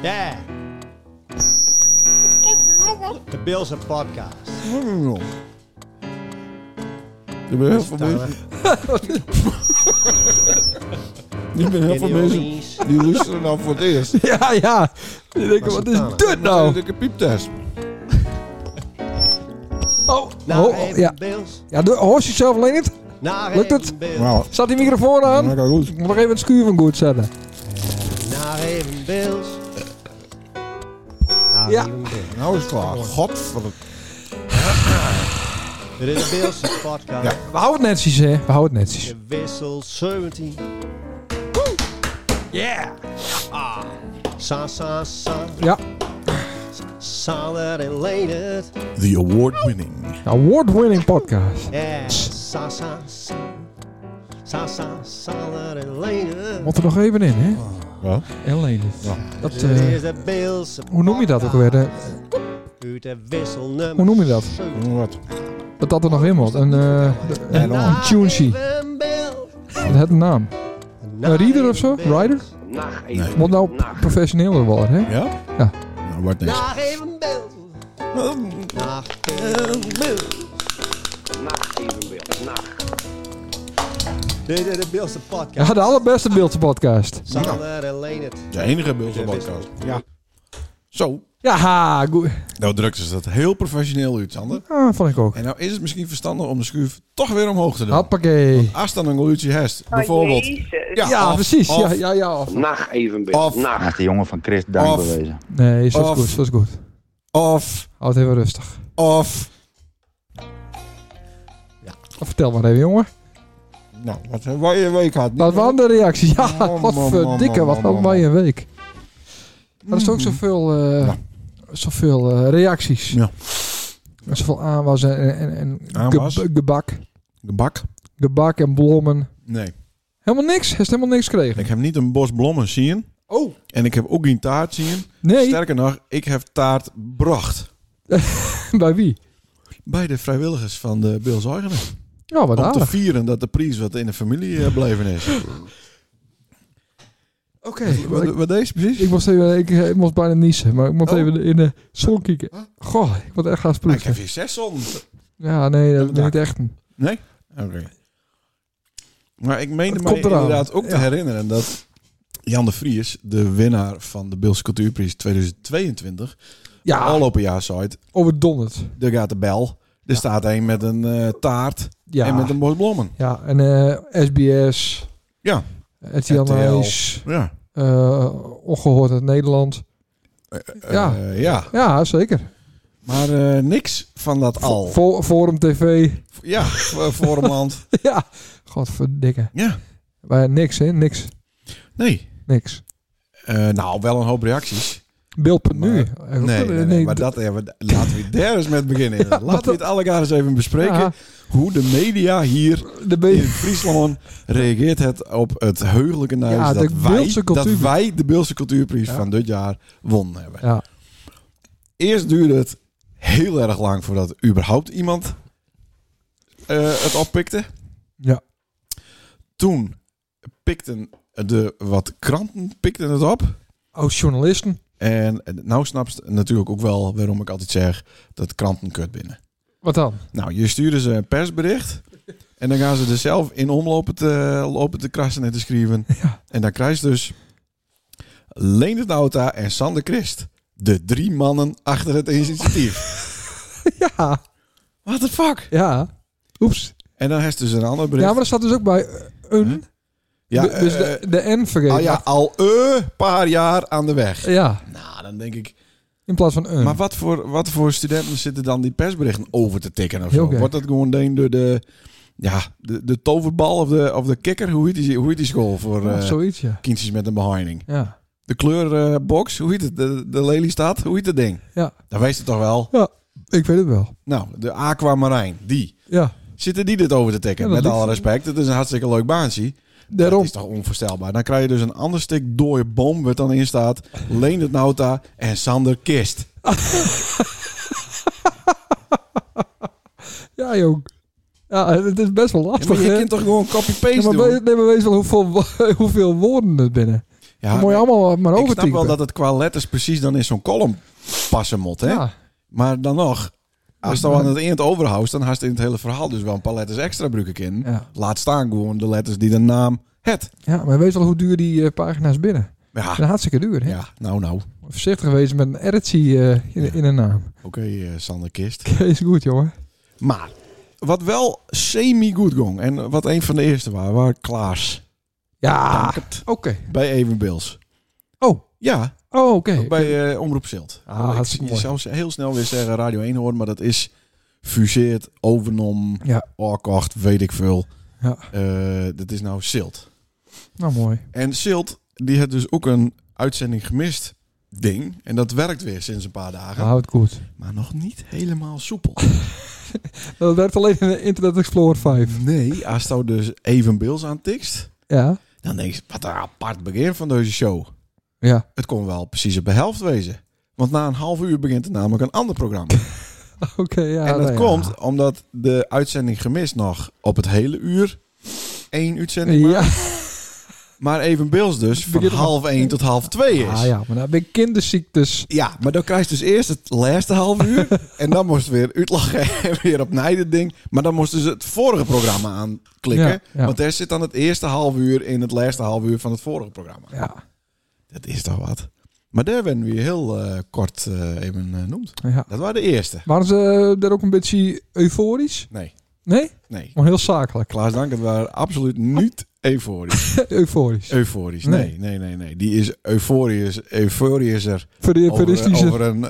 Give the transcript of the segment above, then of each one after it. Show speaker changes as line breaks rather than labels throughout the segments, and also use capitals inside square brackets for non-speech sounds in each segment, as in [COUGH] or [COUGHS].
Yeah, the Bills and podcast.
Ik ben heel veel mensen. Ik ben heel veel mensen die luisteren nou voor het eerst.
[LAUGHS] Ja, ja. Die denken,
Was
wat
het
is
dan?
dit
Oh.
nou?
Ik een pieptest.
Oh,
Nou,
oh, oh, ja.
Bills.
Ja, de- hoor je jezelf alleen niet?
Naar
Lukt
even
het?
Bills.
Nou,
Zat die microfoon aan?
dat
Ik
gaat goed.
moet nog even het schuur van goed zetten.
Naar even Bills. Naar
Ja.
even Bills.
Nou is het klaar. Godverdomme.
Dit is de Bills en podcast.
We houden het netjes, hè. We houden het netjes.
De wissel 17.
Yeah!
Ah. Sa, sa, sa.
Ja,
Solid and lated.
The award-winning.
award-winning podcast.
Yeah. Sa, sa, sa. Sa, sa, solid and lated.
Moet er nog even in, hè?
Wat?
Alleen. Dat,
Dit
eh,
is de Bills en
hoe noem je dat ook weer? De-
Uit de wissel nummer
Hoe noem je dat?
17.
Wat?
Dat dat er nog in moet. Een, eh de-
Ja,
een,
dan.
een tunesy.
Even Bills.
Het had een naam. Een reader of zo?
Bills.
Rider?
Nacht
Nee.
even.
Moet nou professioneler worden, hè?
Ja?
Ja.
Nou, wordt niks. Nou,
Naar even Bills. Naar even Bills.
Nacht even weer. Nacht.
Dit is de Bills en podcast.
Ja, de allerbeste Beeldse podcast.
Sander en Leendert.
De enige Beelse podcast.
Ja.
Zo.
Ja, ha, goe-
Nou drukten ze dat heel professioneel uit, Sander.
Ah, vond ik ook.
En nou is het misschien verstandig om de schuif toch weer omhoog te doen.
Hoppakee.
Als dan een geluidje hest, bijvoorbeeld.
Ja,
of-
precies.
of-
ja, ja, ja. of-
Nacht even weer.
Of-
Nacht.
Naast de jongen van Chris dank
Of-
bewezen.
Nee, is dat
Of-
goed, is dat goed.
Of,
Houd even rustig.
of.
Vertel maar even, jongen.
Nou, wat hebben wij een week gehad?
Wat waren de reacties? Ja,
Man,
wat
man,
voor
man,
dikke,
man,
wat
man,
hadden wij
man. Hmm.
een week. Maar er is ook zoveel, eh,
Ja.
zoveel eh, reacties.
Ja.
En zoveel aanwas en, en, en
Aanwas?
geb- gebak.
De bak?
Gebak en blommen.
Nee.
Helemaal niks. Hij heeft helemaal niks gekregen.
Ik heb niet een bos blommen zien.
Oh.
En ik heb ook geen taart zien.
Nee,
Sterker nog, ik heb taart bracht.
[LAUGHS] bij wie?
Bij de vrijwilligers van de Bills Eigenen.
Ja, Nou, wat
Om te
aardig.
vieren dat de prijs wat in de familie eh, blijven is.
[LAUGHS] Oké.
wat, wat deze precies?
Ik moest, even, ik, eh, moest bijna niezen, maar ik moest
Oh.
even in de zon kijken. Goh, ik moet echt gaan
Ah, ik heb
sproeten.
hier zes zon.
Ja, nee, dat ben
Ja.
ik echt.
Nee? Oké. Maar ik meende
Het
mij
komt eraan.
inderdaad ook te
Ja.
herinneren dat Jan de Vries, de winnaar van de Bills Cultuurprijs 2022, al
Ja,
op een jaar site,
overdonderd.
er gaat de bel. Er staat een met een eh, taart
Ja,
en met een bos blommen.
ja, en eh, SBS.
Ja.
RTL
RTL.
Nice,
Ja.
eh, Ongehoord uit Nederland. Ja.
Eh, ja.
Ja, zeker.
Maar eh, niks van dat al.
Vo- Forum TV.
ja, voor voor een maand.
[LAUGHS] ja, godverdikke.
Ja.
Maar niks, hè? Niks.
Nee.
Niks.
Eh, nou, wel een hoop reacties.
Beeld.nu. Eh,
Nee, nee, nee,
nee,
maar
d-
dat, ja, maar laten we daar eens met beginnen. laten we
dat-
het allegaar eens even bespreken.
ja,
Hoe de media hier
de
in
be-
Friesland reageert het op het heugelijke nieuws
Ja,
dat,
de
wij, dat
Beeldse cultuur-
wij de Beeldse Cultuurprijs
Ja.
van dit jaar won hebben.
Ja.
Eerst duurde het heel erg lang voordat überhaupt iemand eh, het oppikte.
Ja.
Toen pikten de wat kranten pikten het op.
Oud Oh, journalisten.
En nou snapt natuurlijk ook wel waarom ik altijd zeg dat kranten kut binnen.
Wat dan? [LAUGHS]
Nou, je stuurde ze een persbericht. En dan gaan ze er zelf in omlopen te, lopen te krassen en te schrijven.
Ja.
En dan krijg je dus Leendert Nauta en Sander Christ. De drie mannen achter het initiatief.
Ja.
What the fuck?
Ja. Oeps.
En dan heeft dus een ander
Ja,
bericht.
maar er staat dus ook bij eh, een.
Hm? Ja,
Du- dus
eh,
de, de N vergeten.
ah ja, al een paar jaar aan de weg.
Ja,
Nou, dan denk ik...
in plaats van een.
Maar wat voor, wat voor studenten zitten dan die persberichten over te tikken of
Heel
zo?
gek.
Wordt dat gewoon deen door de... Ja, de, de toverbal of de, of de kikker? Hoe heet die, hoe heet die school voor...
Ja,
eh,
zoiets, ja.
kindjes met een behinding.
Ja.
De kleurbox, hoe heet het? De, de Lelystad, hoe heet dat ding?
Ja.
Dat weet het toch wel?
Ik weet het wel.
Nou, de Aquamarijn, die.
Ja,
Zitten die dit over te tikken?
Ja, dat
met
lukt.
alle respect, het is een hartstikke leuk baantje. Dat
daarom.
is toch onvoorstelbaar. Dan krijg je dus een ander stuk dode boom wat dan in staat. Leendert Nauta en Sander Kist.
Ja, jong. Ja, het is best wel
Ja, maar
lastig,
je
hè?
kunt toch gewoon copy-paste
Ja, maar
doen?
[LAUGHS] weet, nee, maar weet wel hoeveel, wo- hoeveel woorden het binnen.
Ja,
Moet je allemaal maar
ik snap
overtypen.
wel dat het qua letters precies dan in zo'n column passen moet. Hè?
Ja.
Maar dan nog, als je dan aan het eind overhoudt, dan haast in het hele verhaal dus wel een paar letters extra gebruiken in.
Ja.
Laat staan gewoon de letters die de naam het.
ja, maar weet wel hoe duur die eh, pagina's binnen.
Ja,
Dat is hartstikke duur, hè?
Ah. ja nou nou.
Voorzichtig wezen met een editsie eh, in, in een naam. [LAUGHS]
Oké, eh, Sander Kist.
Is goed, jongen.
Maar wat wel semi-goed gong en wat een van de eerste waren, waren Klaas.
Ja, oké.
Dankert Bij Evenbeels.
Oh,
Ja,
oh oké.
bij eh, Omroep Zilt.
Ah, hartstikke
ik, je
mooi.
zou ze heel snel weer zeggen Radio 1 horen, maar dat is fuseerd, overnom,
Ja.
oorkocht, weet ik veel.
Ja.
Eh, dat is nou Zilt.
Nou, mooi.
En Silt, die had dus ook een uitzending gemist ding. En dat werkt weer sinds een paar dagen.
Houdt Nou, goed.
Maar nog niet helemaal soepel. [LAUGHS]
Dat werkt alleen in de Internet Explorer 5.
Nee, als je dus evenbeels aantikst,
Ja.
dan denk je, wat een apart begin van deze show.
Ja. [LAUGHS]
Het kon wel precies op de helft wezen. Want na een half uur begint er namelijk een ander programma.
Oké, ja.
en dat
nou ja.
komt omdat de uitzending gemist nog op het hele uur. Eén uitzending maar.
Ja.
Maar evenbeels dus van
Begint om-
half één tot half twee is.
Ah ja, maar nou ben ik kinderziektes.
Ja, maar dan krijg je dus eerst het laatste half uur. [LAUGHS] en dan moest weer uitlachen [LAUGHS] en weer opnieuw dit ding. Maar dan moesten ze het vorige programma aanklikken.
Ja, ja.
Want daar zit dan het eerste half uur in het laatste half uur van het vorige programma.
Ja.
Dat is toch wat. Maar daar werden we heel eh, kort eh, even eh, noemd.
ja.
Dat waren de eerste.
Waren ze eh, daar ook een beetje euforisch?
Nee,
Nee?
nee.
Maar heel zakelijk.
Klaas Dank, het waren absoluut niet euforisch.
[LAUGHS] euforisch.
Euforisch, nee, nee, nee, nee. Die is euforisch, euforischer over,
Veristische.
over een,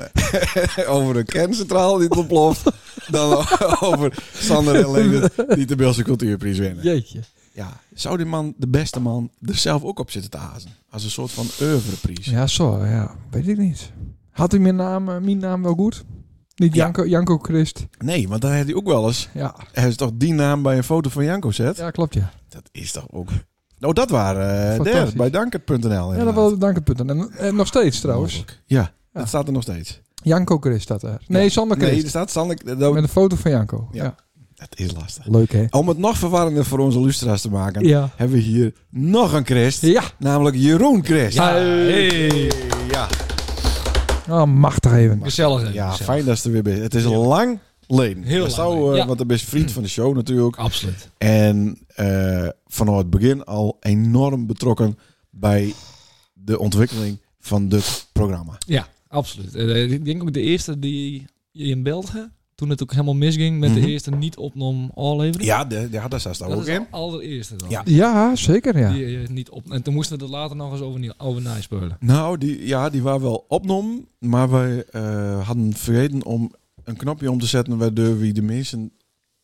over een [LAUGHS] kerncentraal die het
[LAUGHS]
ontploft. dan over Sander en Leendert die de Beelse Cultuurprijs winnen.
Jeetje.
Ja. Zou die man, de beste man, er zelf ook op zitten te hazen? Als een soort van oeuvreprijs.
Ja, zo, ja. Weet ik niet. Had hij mijn naam, eh, mijn naam wel goed? Niet
Ja.
Janko, Janko Christ.
Nee, want daar heeft hij ook wel eens.
Ja.
Hij is toch die naam bij een foto van Janko zet?
ja, klopt ja.
Dat is toch ook. Nou, dat waren eh
Fantastisch.
daar, bij dankert.nl.
Ja, dat was dank het punt. En, en nog steeds trouwens.
Ja,
Ja.
dat staat er nog steeds.
Janko Christ staat er. Nee,
Ja.
Sander
Nee,
Christ.
er staat Sander. Dat,
Met een foto van Janko.
Ja.
Ja.
dat is lastig.
Leuk hè?
Om het nog verwarrender voor onze lustra's te maken,
Ja.
hebben we hier nog een Christ.
Ja.
Namelijk Jeroen Christ.
Ja.
Ja,
Oh, machtig even.
Gezellig. hè?
ja
Gezellig.
fijn dat ze er weer bent. Het is lang leden.
Heel
Dat
lang
zou,
geleden.
eh,
Ja.
Want de best vriend van de show natuurlijk.
Absoluut.
En eh, vanaf het begin al enorm betrokken bij de ontwikkeling van dit programma.
Ja, absoluut. Eh, ik denk ook de eerste die je in belde, toen het ook helemaal misging met
Mhm.
de eerste niet opnom aflevering.
Ja, de, ja daar staat ze
dat
ook
is
in.
de allereerste dan.
Ja.
Ja, zeker ja.
Die, eh, niet op en toen moesten we er later nog eens over, over spelen.
Nou, die, ja, die waren wel opnom, maar wij eh, hadden vergeten om een knopje om te zetten waardoor we de mensen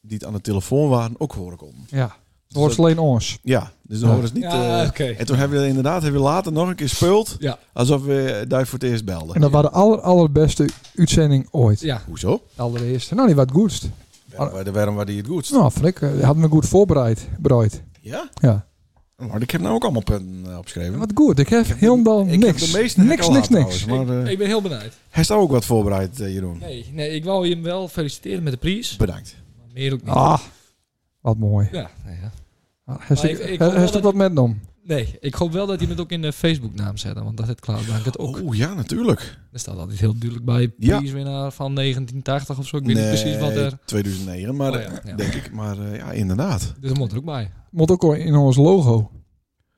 die het aan de telefoon waren ook horen konden.
Ja. Het
Dus
wordt
dat-
alleen ons.
ja, dus dan
Ja.
horen ze niet.
Ja,
eh,
oké.
En toen hebben we inderdaad hebben we later nog een keer speeld,
Ja.
alsof we daar voor het eerst
En
belden.
dat was de aller, allerbeste uitzending ooit.
Ja,
Hoezo?
De allereerste. Nou, die was het goedst.
Waarom, waarom waren die het goed?
Ah. Nou, vond ik. eh, Hadden we goed voorbereid. Bereid.
Ja?
Ja.
Maar ik heb nou ook allemaal punten eh, opgeschreven.
Wat goed. Ik heb helemaal
ik heb
niks.
de meeste heb ik
niks,
al
niks,
gehad
niks.
trouwens, Maar eh,
ik ben heel benieuwd.
hij staat ook wat voorbereid, eh, Jeroen.
Nee, nee, ik wou je wel feliciteren met de prijs.
Bedankt.
Maar meer ook niet.
Ah, wat mooi.
Ja, nee, ja.
Heeft
ik- ik
hij-
hoop wel
heeft ook
dat-
wat met hem?
nee, ik hoop wel dat je het ook in de Facebook-naam zet, want dat het klaar dank het ook.
Oh ja, natuurlijk.
Er staat altijd heel duidelijk bij
Ja.
prijswinnaar van 1980 of zo. Ik weet niet precies wat er.
2009, maar
Oh ja,
eh,
ja.
denk ik. Maar eh, ja, inderdaad.
Dus dat moet er ook bij.
Moet ook al in ons logo.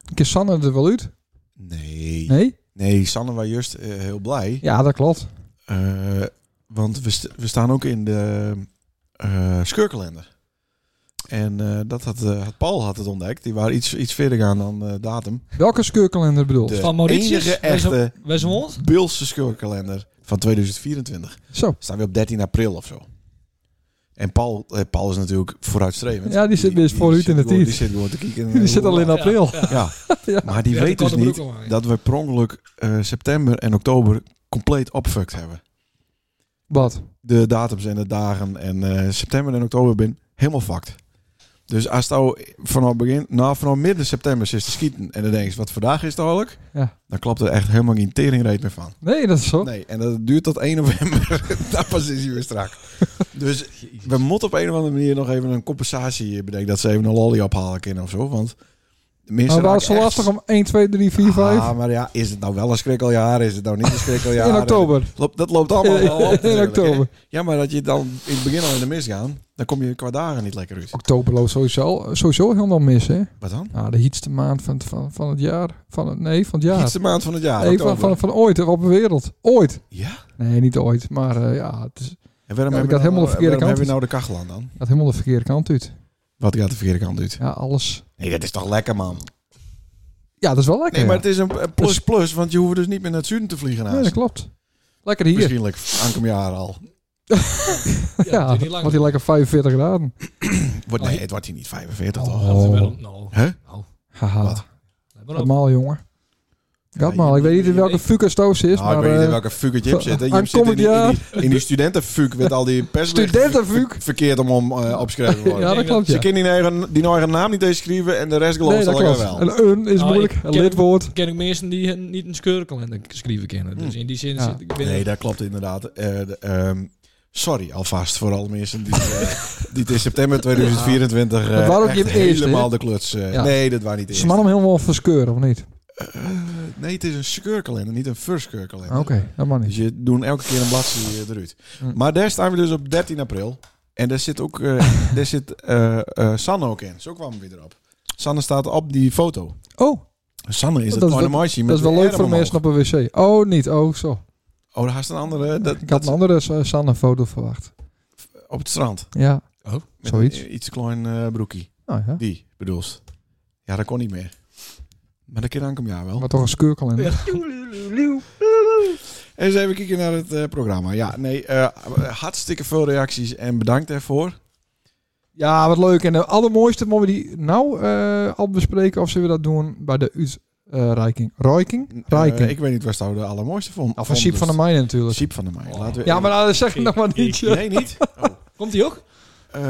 Een keer Sanne er wel uit?
Nee. Nee,
Nee?
Sanne was juist eh, heel blij.
Ja, dat klopt.
Eh, want we, st- we staan ook in de eh scheurkalender. En eh, dat had, eh, had Paul had het ontdekt. Die waren iets, iets verder gaan dan eh, datum.
Welke scheurkalender bedoel?
De
Van Mauritius?
enige
Wij zo-
echte
Wij zijn hond?
Bilse scheurkalender van 2024.
Zo. [LAUGHS]
staan we op 13 april of zo. En Paul, eh, Paul is natuurlijk vooruitstrevend.
Ja, die zit best
die
vooruit
zit
in de
gewoon-
tiet.
Die zit gewoon te kijken. eh,
Die zit
hoe-
al in
Ja,
april.
ja.
Ja,
[LAUGHS] Ja.
maar die
Ja,
weet
die
dus
kan er
niet
ook al aan, ja.
dat we per ongeluk eh, september en oktober compleet opfucked hebben.
Wat?
De datums en de dagen en eh, september en oktober ben helemaal fucked. Dus als het vanaf begin, nou vanaf midden september zit te schieten en dan denk je wat vandaag is het eigenlijk,
Ja.
dan klopt er echt helemaal geen teringreet meer van.
Nee, dat is zo.
Nee, en dat duurt tot 1 november. [LAUGHS] dat pas is hij weer
[LAUGHS]
strak. Dus we moeten op een of andere manier nog even een compensatie bedenken. Dat ze even een lolly ophalen kunnen of zo. Want de mensen
Maar was
raken
zo
echt-
lastig om 1, 2, 3, 4, 5
Ah, maar ja, is het nou wel een schrikkeljaar? Is het nou niet een schrikkeljaar?
[LAUGHS] in oktober.
Loopt- Dat loopt allemaal wel op
in
natuurlijk, hè.
oktober.
Ja, maar dat je dan in het begin al in de mis gaat, dan kom je qua dagen niet lekker uit.
Oktober loopt sowieso, sowieso helemaal mis, hè?
Wat dan?
Nou, de heetste maand van, het- van, van het jaar. Van het, nee, van het
Ja.
jaar.
Iets de maand van het jaar,
nee,
oktober.
van, van, van ooit op de wereld. Ooit.
Ja?
Nee, niet ooit. Maar eh, ja, het is,
En waarom
Ja,
hebben
ik
we nou-
had helemaal de verkeerde
waarom
kant
hebben we nou de kachel aan dan?
gaat helemaal de verkeerde kant uit.
Wat gaat de verkeerde kant uit?
Ja, alles.
Nee, dat is toch lekker, man?
Ja, dat is wel lekker.
Nee, maar
ja.
het is een plus-plus, want je hoeft dus niet meer naar het zuiden te vliegen
Nee, dat
naast.
klopt. Lekker hier.
Misschien like, aankomend jaar al.
Ja,
Ja,
het is
want
niet lang.
wordt hier lekker 45 graden.
Wordt,
Oh,
nee,
je-
het wordt hier niet 45
Oh.
toch?
Gaat er wel om- Nou,
Hè?
nou.
Haha,
Wat?
Let maar
gaat
op.
maar jongen. Gaat
Ja,
maar.
je-
Ik weet niet in
je-
je-
welke Fuca-stoof ze is,
Nou, ik
maar...
weet niet in
eh,
welke fuck het je op zit. hè. Je
aankomend
zit in die, in
jaar.
die, in die
[LAUGHS]
studentenfuck met al die persberichten
Studentenfuuk?
ver- verkeerd om om eh, opgeschreven worden.
[LAUGHS] ja, dat
denk
klopt,
Ze
ja.
kunnen die eigen, die eigen naam niet eens schrijven en de rest gelooft
Nee, dat
al
klopt.
wel.
Een un is
Nou,
moeilijk.
ik
Een
ken-
lidwoord.
ken ik mensen die hun niet een scheurkalender schrijven kennen. Dus in die zin
Ja.
zit ik binnen.
Hm. Nee, dat klopt inderdaad. Eh, de, ehm, sorry alvast voor alle mensen die,
[LAUGHS]
eh, die het in september 2024 eh,
Dat waren ook
echt
je eerste,
helemaal
hè?
de kluts. eh,
Ja.
Nee, dat waren niet de
Ze man hem helemaal verscheuren, of niet?
eerste. Eh, nee, het is een scheurkalender, niet een verskeurkalender.
Oké, dat mag
Dus
niet.
je doen elke keer een bladzijde eh, eruit.
Hm.
Maar daar staan we dus op 13 april. En daar zit ook [LAUGHS] eh, daar zit, eh eh, Sanne ook in. Zo kwam we weer erop. Sanne staat op die foto.
Oh,
Sanne is
Dat
het
is wel-
animatie met
dat is wel
de
leuk
arm
voor de mensen
omhoog.
op een wc. Oh, niet. Oh, zo.
Oh, daar is een andere. Dat,
Ik
dat
had een andere eh, Sanne-foto verwacht.
is op het strand.
Ja.
Oh,
Met
Zoiets.
Een, iets klein eh, broekie.
Nou ja.
Die bedoelst. Ja, dat kon niet meer. Maar dat keer aankom ja wel.
Maar toch een scheurkalender.
Eens even kijken naar het eh, programma. Ja, nee, eh, hartstikke veel reacties en bedankt daarvoor.
Ja, wat leuk. En de allermooiste mogen we die nou eh, al bespreken of zullen we dat doen bij de eh, uitreiking. Reiking? Reiking.
Eh, ik weet niet waar zou de allermooiste dus. vond.
of van Siep van der Meijden natuurlijk.
Siep eh, van der Meijen. Laten we
Ja, maar nou, dat zeg ik
Ik-
nog maar niet.
ik-
joh.
Nee, niet? Oh.
Komt die ook?
Eh,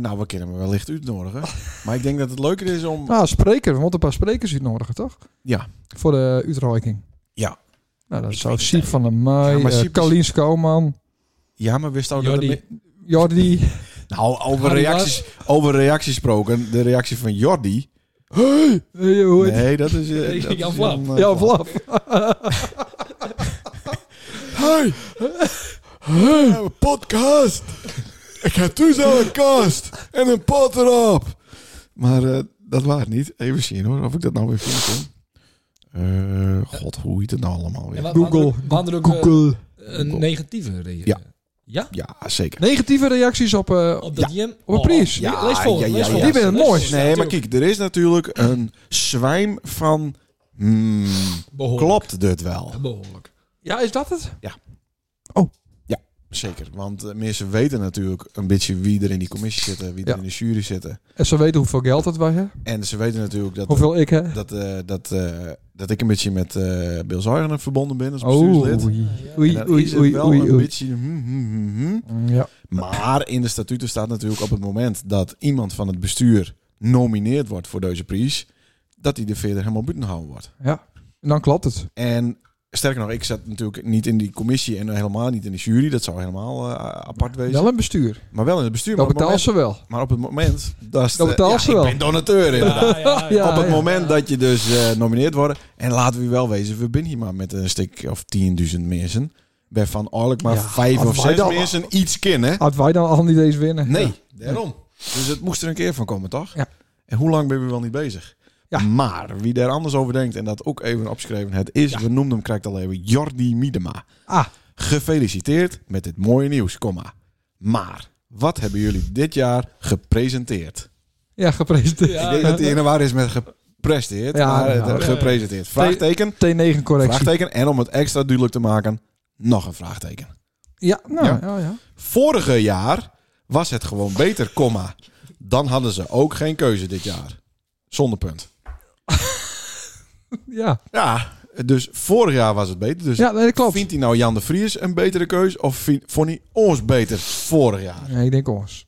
nou, we kennen hem wellicht uitnodigen. Maar ik denk dat het leuker is om...
Nou, spreker. We moeten een paar sprekers uitnodigen, toch?
Ja.
Voor de uitreiking.
Ja.
Nou, dat
Ik
zou
weet
Siep van der Meij,
Ja, maar
eh,
Siep is-
Carlien Schouwman,
Ja, maar wist nou
Jordi.
dat... er me-
Jordi.
Nou, over
Harry
reacties, over reacties gesproken. De reactie van Jordi.
[LAUGHS] Nee, hoe heet-
Nee, dat is...
[LAUGHS]
eh,
Nee,
dat is
Jan Vlaam.
eh,
Ja, Vlaf.
[LAUGHS] Hey! Hey! Podcast! Ik heb thuis al een kast en een pot erop. Maar eh, dat waar niet. Even zien hoor, of ik dat nou weer vind. hoor. Eh, God, hoe heet het nou allemaal
En
weer?
wa-
Google.
waren er ook- Waren er ook eh,
Google.
een negatieve reden?
Ja.
Ja?
Ja, zeker.
Negatieve reacties op... eh,
Op dat JM?
Op een prijs.
Ja,
lees voor.
ja, ja,
lees
ja.
voor.
Die
ben het
Lees voor.
mooist.
Ja,
Nee, maar
tuurlijk.
kijk, er is natuurlijk een zwijm van... hmm,
Behoorlijk.
klopt dit wel?
Behoorlijk.
ja, is dat het?
Zeker, want eh, mensen weten natuurlijk een beetje wie er in die commissie zitten, wie er
Ja.
in de jury zitten.
En ze weten hoeveel geld dat wij hebben.
En ze weten natuurlijk dat,
Hoeveel ik heb.
dat, eh, dat, eh, dat ik een beetje met eh Bill Zuigeren verbonden ben als
Oh,
bestuurslid.
oei,
En
oei,
dan is
oei,
het
oei,
wel
oei,
een
oei.
beetje... hmm, hmm, hmm, hmm.
Ja.
Maar in de statuten staat natuurlijk op het moment dat iemand van het bestuur nomineerd wordt voor deze prijs, dat hij er verder helemaal buiten gehouden wordt.
En dan klopt het.
En sterker nog, ik zat natuurlijk niet in die commissie en helemaal niet in de jury. Dat zou helemaal eh, apart wezen.
Wel een bestuur.
Maar wel in het bestuur.
Dat
maar, op het
betaalt
moment,
ze wel.
maar op het moment... Dat, is
Dat
de-
betaalt
ja,
ze wel.
Ik ben donateur inderdaad.
Ja, ja, ja.
[LAUGHS] Ja.
op het moment dat je dus eh nomineerd wordt... En laten we wel wezen, we binnen hier maar met een stuk of 10.000 mensen. Bij Van Orlik maar
Ja,
vijf
als
of
wij
zes
dan-
mensen iets kennen.
Had wij dan al niet eens winnen?
Nee,
Ja.
daarom. Dus het moest er een keer van komen, toch?
Ja.
En hoe lang ben je wel niet bezig?
Ja.
Maar wie daar anders over denkt en dat ook even opgeschreven het is, we noemden hem krijgt al even Jordi Miedema.
Ah.
Gefeliciteerd met dit mooie nieuws, comma. Maar wat hebben jullie dit jaar gepresenteerd?
Ja, gepresenteerd.
Ja.
Ik denk dat hij in de war is met gepresteerd,
Ja,
maar
ja.
eh, gepresenteerd. Vraagteken,
T9 correctie.
vraagteken en om het extra duidelijk te maken, nog een vraagteken.
Ja, nou
Ja.
ja, ja.
Vorige jaar was het gewoon beter, comma. Dan hadden ze ook geen keuze dit jaar. Zonder punt.
Ja,
Ja, dus vorig jaar was het beter. Dus
ja nee, dat klopt.
vindt hij nou Jan de Vries een betere keuze? Of vindt, vond hij ons beter vorig jaar?
Nee, ik denk ons.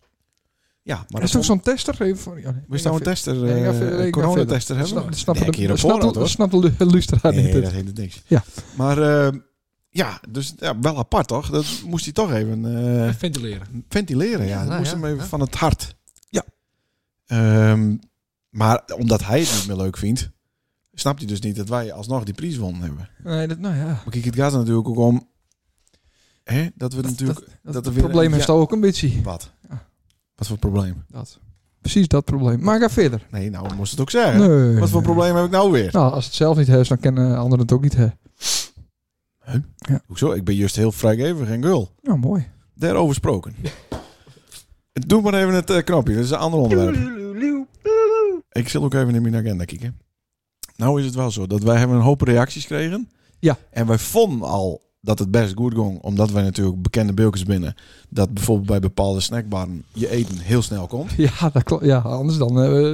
Ja, maar
Maar is
dat
toch zo'n tester? Even voor, ja, nee,
Moest nou een
ik ga
tester,
verder.
eh,
Ja, ik ga verder,
een
ik ga
coronatester
verder.
hebben?
Snap- Snap
Nee, ik hier op
de- snap
voorhand,
de-
hoor.
snap de lu- luisteraar
Nee,
niet.
dat heet het niks.
Ja.
Maar, eh, ja, dus ja, wel apart toch? Dat moest hij toch even
[LAUGHS]
eh,
Ventileren.
ventileren. Ja,
Ja,
dat
nou
moest
ja,
hem even
ja.
van het hart.
Ja.
Ehm, Maar omdat hij het niet meer leuk vindt, snapt hij dus niet dat wij alsnog die prijs wonnen hebben.
Nee, dat, nou ja.
Maar kijk, het gaat er natuurlijk ook om hè, dat we
Dat,
natuurlijk...
dat,
dat
dat,
er weer-
probleem
ja.
heeft ook een beetje.
Wat?
Ja.
Wat voor probleem?
Dat. Precies dat probleem. Maar ga verder.
Nee, nou, we moesten het ook zeggen.
Nee.
Wat voor probleem heb ik nou weer?
Nou, als het zelf niet heeft, dan kennen anderen het ook niet. Hè.
Hoezo? Ik ben juist heel vrijgevig en gul.
Nou, mooi.
Daarover gesproken. Doe maar even het eh, knopje, dat is een ander onderwerp. Ik zal ook even in mijn agenda kijken. Nou is het wel zo dat wij hebben een hoop reacties kregen.
Ja.
En wij vonden al dat het best goed ging, omdat wij natuurlijk bekende bilkers binnen, dat bijvoorbeeld bij bepaalde snackbarren je eten heel snel komt.
[LAUGHS] Ja, dat klopt. Ja, anders dan eh,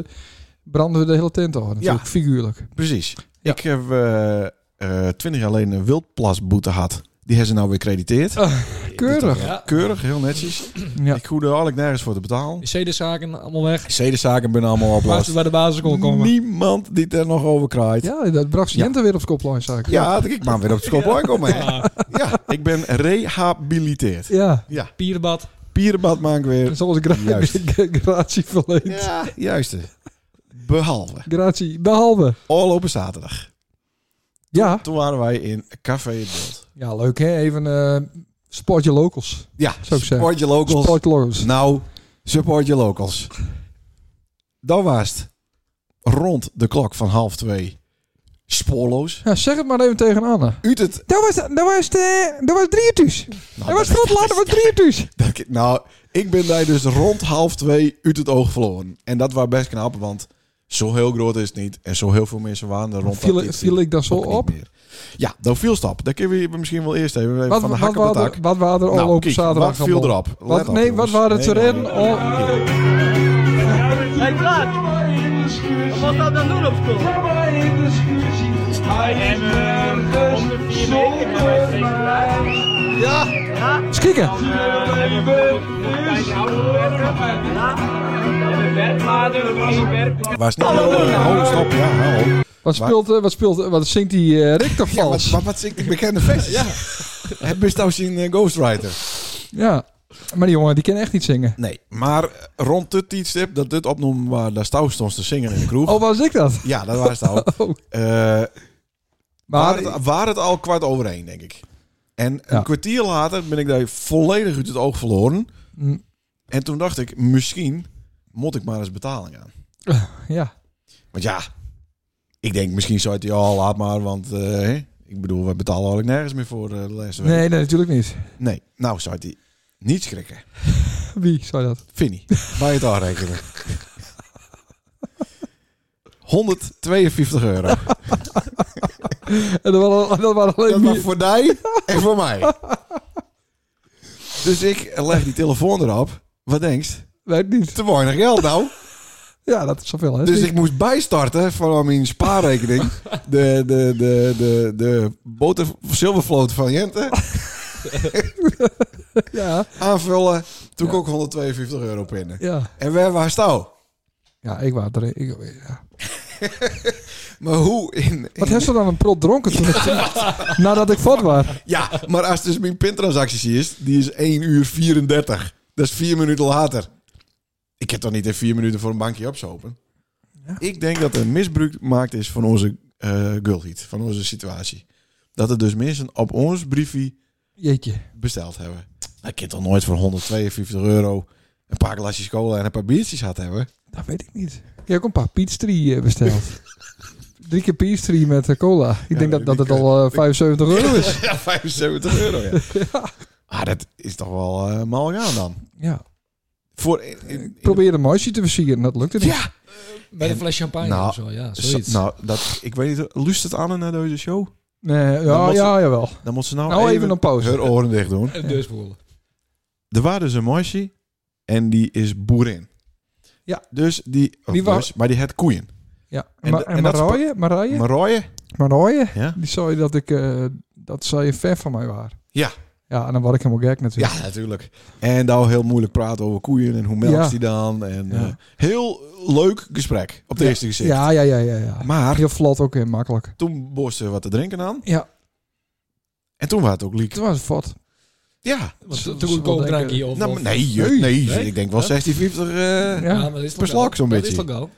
branden we de hele tent af. Natuurlijk, figuurlijk.
Precies.
Ja.
Ik heb eh, twintig jaar geleden een wildplasboete gehad. Die hebben ze nou weer crediteerd.
Keurig.
Ja.
Keurig, heel netjes.
Oh. Ja.
Ik hoef er eigenlijk nergens voor te betalen.
CD-zaken allemaal weg.
Zedenzaken ben allemaal
Waar ze
oplost.
bij de basis kon komen.
Niemand die er nog over kraait. Ja,
ja, dat bracht Jente weer op skoplijn, zei ik.
ik mag weer op het schop komen. hè.
Ja,
Ja, ik ben rehabiliteerd.
Ja.
pierenbad.
Pierenbad maak ik weer.
Zoals ik [LAUGHS]
Juist.
gratie verleent.
Ja, juist. Behalve.
Gratie, behalve.
Afgelopen zaterdag.
Ja.
Toen waren wij in Café het Beeld.
Ja, leuk hè. Even eh sport je locals.
Ja,
Zou ik zeggen.
support je locals.
Sport locals.
Nou, support je locals. Dan was het rond de klok van half twee spoorloos.
Ja, zeg het maar even tegen Anne.
Uit het...
Dat was, dat was, eh, dat was drie uurtjes.
Nou,
Dat was veel later, dat was drie uurtjes.
Dat ik- nou, ik ben daar dus rond half twee uit het oog verloren. En dat was best knap, want zo heel groot is het niet. En zo heel veel mensen waren er rond.
Viel,
dat dit
viel ik daar zo
ook niet
op?
meer. Ja, dan viel stap. Daar kunnen we hier misschien wel eerst even
Wat,
van
wat,
de
wat,
hak op de tak.
waren, wat waren er al
Nou,
op
kijk,
zaterdag?
wat viel
allemaal?
erop? Let
Wat,
op,
nee, wat
jongens.
waren er te
Nee,
redden?
nee,
Oh,
Hij praat. Wat dat dan doen op school? Hij is nergens zonder mij.
eens kijken.
Waar is niet Oh, stop. Ja, hallo.
Wat speelt, eh, wat speelt, eh, wat zingt die eh, Rick toch
Ja, wat,
vals?
wat, wat ik bekende feestjes? ja. Heb je trouwens een eh, ghostwriter?
Ja, maar die jongen die kan echt niet zingen.
Nee, maar rond dit tijdstip dat dit opnoemen waar daar stouw stond te zingen in de kroeg.
Oh, was ik dat?
Ja, dat was
[LAUGHS]
het al.
Oh.
Eh,
Maar
Waar het, waar het al kwart over één, denk ik. En een
Ja.
kwartier later ben ik daar volledig uit het oog verloren.
Mm.
En toen dacht ik, misschien moet ik maar eens betaling aan.
ja,
Want ja, ik denk misschien zou het ja, laat maar. Want eh, hè, ik bedoel, we betalen eigenlijk nergens meer voor eh, de laatste week.
nee, nee, natuurlijk niet.
Nee, nou zou hij niet schrikken.
Wie zou dat? [LAUGHS]
Vinnie, bij het aanrekenen. 152 euro.
En dat waren, dat waren alleen
Dat was
wie-
voor mij en voor mij. Dus ik leg die telefoon erop. Wat denkst?
Weet niet.
Te weinig geld nou.
Ja, [LAUGHS] dat is zoveel. Hè?
Dus ik moest bijstarten van mijn spaarrekening. De, de, de, de, de boter zilvervloot van Jente.
[LAUGHS] Ja,
Aanvullen. Toen ik ook 152 euro pinnen.
ja.
En waar was nou?
ja ik was er. Ik, ja.
Maar hoe in...
Wat heeft ze dan een prot dronken toen ik,
[LAUGHS]
nadat ik vat was?
Ja, maar als dus mijn pintransacties is, die is 1 uur 34. Dat is 4 minuten later. Ik heb toch niet in 4 minuten voor een bankje opzopen. Ik denk dat er misbruik gemaakt is van onze eh gulheat, van onze situatie. Dat er dus mensen op ons briefje
Jeetje.
besteld hebben. Nou, Ik kan toch nooit voor 152 euro een paar glasjes cola en een paar biertjes had hebben.
Dat weet ik niet. Ik heb ook een paar pizzerie
[LAUGHS]
eh, besteld. Drie keer pizzerie met eh, cola. Ik denk dat,
die-
dat
die
het al eh, 75 euro
[LAUGHS]
is.
Ja, 75 euro, ja. Ah, dat is toch wel eh mal gaan dan.
Ja.
Voor, in- in- in-
Ik probeerde een meisje te versieren. Dat lukte niet.
ja,
Met een
En-
fles champagne
Nou,
of zo. Ja,
Ah,
Zo-
zoiets.
nou, dat, ik weet niet, luistert Anne naar deze show?
Nee,
Dan
ja,
was
ja, jawel.
Dan moet ze nou,
Nou, even een pauze.
haar oren dicht doen.
En deurspoelen.
Er was dus een meisje en die is boerin.
Ja.
Dus die, of
Die wa-
dus, maar die had koeien.
Ja.
En
En,
da-
Ma- en,
en dat is
Marije, Marije,
Marije,
Marije,
Ja?
die zei dat ik, eh, dat zij ver van mij waren.
Ja.
Ja, en dan word ik helemaal gek natuurlijk.
Ja, natuurlijk. En nou heel moeilijk praten over koeien en hoe melkt
Ja.
die dan. En,
Ja.
eh, heel leuk gesprek op het eerste gezicht.
Ja, ja, ja, ja. ja.
Maar
Heel vlot ook en makkelijk.
toen borst ze wat te drinken aan.
Ja.
En toen was het ook liek.
Toen was het fot.
Ja.
Want
Zo-
Te
zo
goedkoop
denken-
drankje of...
Nou,
of-
maar nee, je- nee,
Nee.
je- ik denk wel
Ja.
16, 50. eh,
Ja.
maar dat is
Per
toch wel-
slok zo'n
dat
beetje.
is toch wel.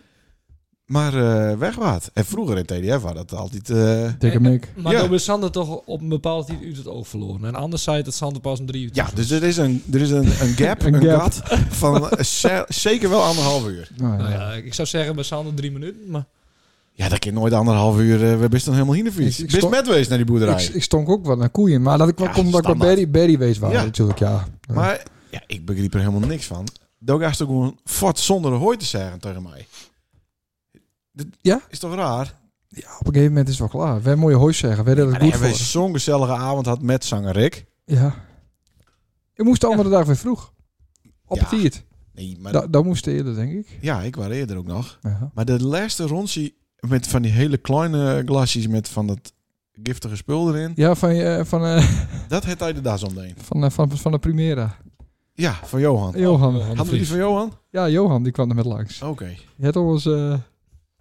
maar eh weg wat. En vroeger in TDF was dat altijd... eh,
Dikke Mick.
Maar
Ja.
dan is Sander toch op een bepaald tijd uit het oog verloren. En anders zei het dat Sander pas om drie uur.
ja, dus er is een, er is een, een gap, een,
[LAUGHS] Een gap.
gat van eh, ze- zeker wel anderhalf uur.
Nou,
Nou
ja.
ja, ik zou zeggen bij Sander drie minuten, maar...
Ja, dat kan nooit anderhalf uur. eh, we best dan helemaal hier in de fiets.
Ik- ik
Bist
sto-
met wees naar die boerderij.
Ik, ik stonk ook wat naar koeien, maar dat ik
Ja,
kwam omdat ik wat
standaard.
Berry, Berry wees waren
Ja.
natuurlijk, ja.
Maar ja, ik begreep er helemaal niks van. Daar gaat ze gewoon fort zonder hooi te zeggen tegen mij. Dat
Ja?
Is toch raar?
Ja, op een gegeven moment is het wel klaar. Wij mooie hooi zeggen, wij deden
En
het
dan
goed
hebben we
voor.
zo'n gezellige avond had met zanger Rick.
Ja. Ik moest de andere dag weer vroeg. Op
Ja.
het tiert.
Nee, maar
Da, dat moest eerder, denk ik.
ja, ik was eerder ook nog.
Ja.
Maar de laatste rondje met van die hele kleine glasjes met van dat giftige spul erin.
Ja, van, eh, van, eh, [LAUGHS]
Dat had hij de das omheen.
van, eh, van, van de Primera.
Ja, van Oh, Johan. Oh.
Johan.
Hadden we die van Johan?
Ja, Johan, die kwam er met langs.
Oké.
Je had ons eh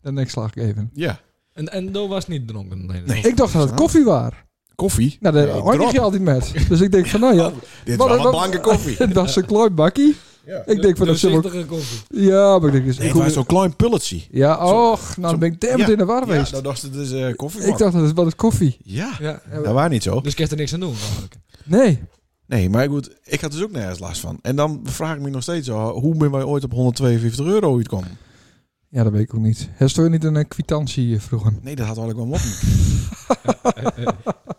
de nekslag gegeven.
Ja.
En, en Do was niet dronken. Nee.
Nee.
Ik dacht dat het koffie was.
Koffie?
Nou, daar
Nee,
eindig je
drop.
altijd met. Dus ik denk van, nou ja,
Dit
Wat-
was wel
wat-
een blanke
[LAUGHS]
koffie.
dat is een klein bakkie.
Ja.
Ik denk van, dat zullen we...
Doorzichtige koffie.
Ja, maar ik denk, dus,
Nee,
ik
het was
hoef-
zo'n klein pulletje.
Ja, och, nou
zo-
ben ik damn
ja.
in de war
Ja,
geweest.
dat dacht ze dus eh koffie.
ik dacht, dat is wat is koffie.
Ja,
Ja.
dat was niet zo.
Dus ik heb er niks aan doen. eigenlijk.
Nee.
Nee, maar goed, ik had dus ook nergens last van. En dan vraag ik me nog steeds, oh, hoe ben wij ooit op 152 euro uitgekomen?
Ja, dat weet ik ook niet. Heeft je niet een eh, kwitantie eh, vroegen?
Nee, dat had eigenlijk wel moppen.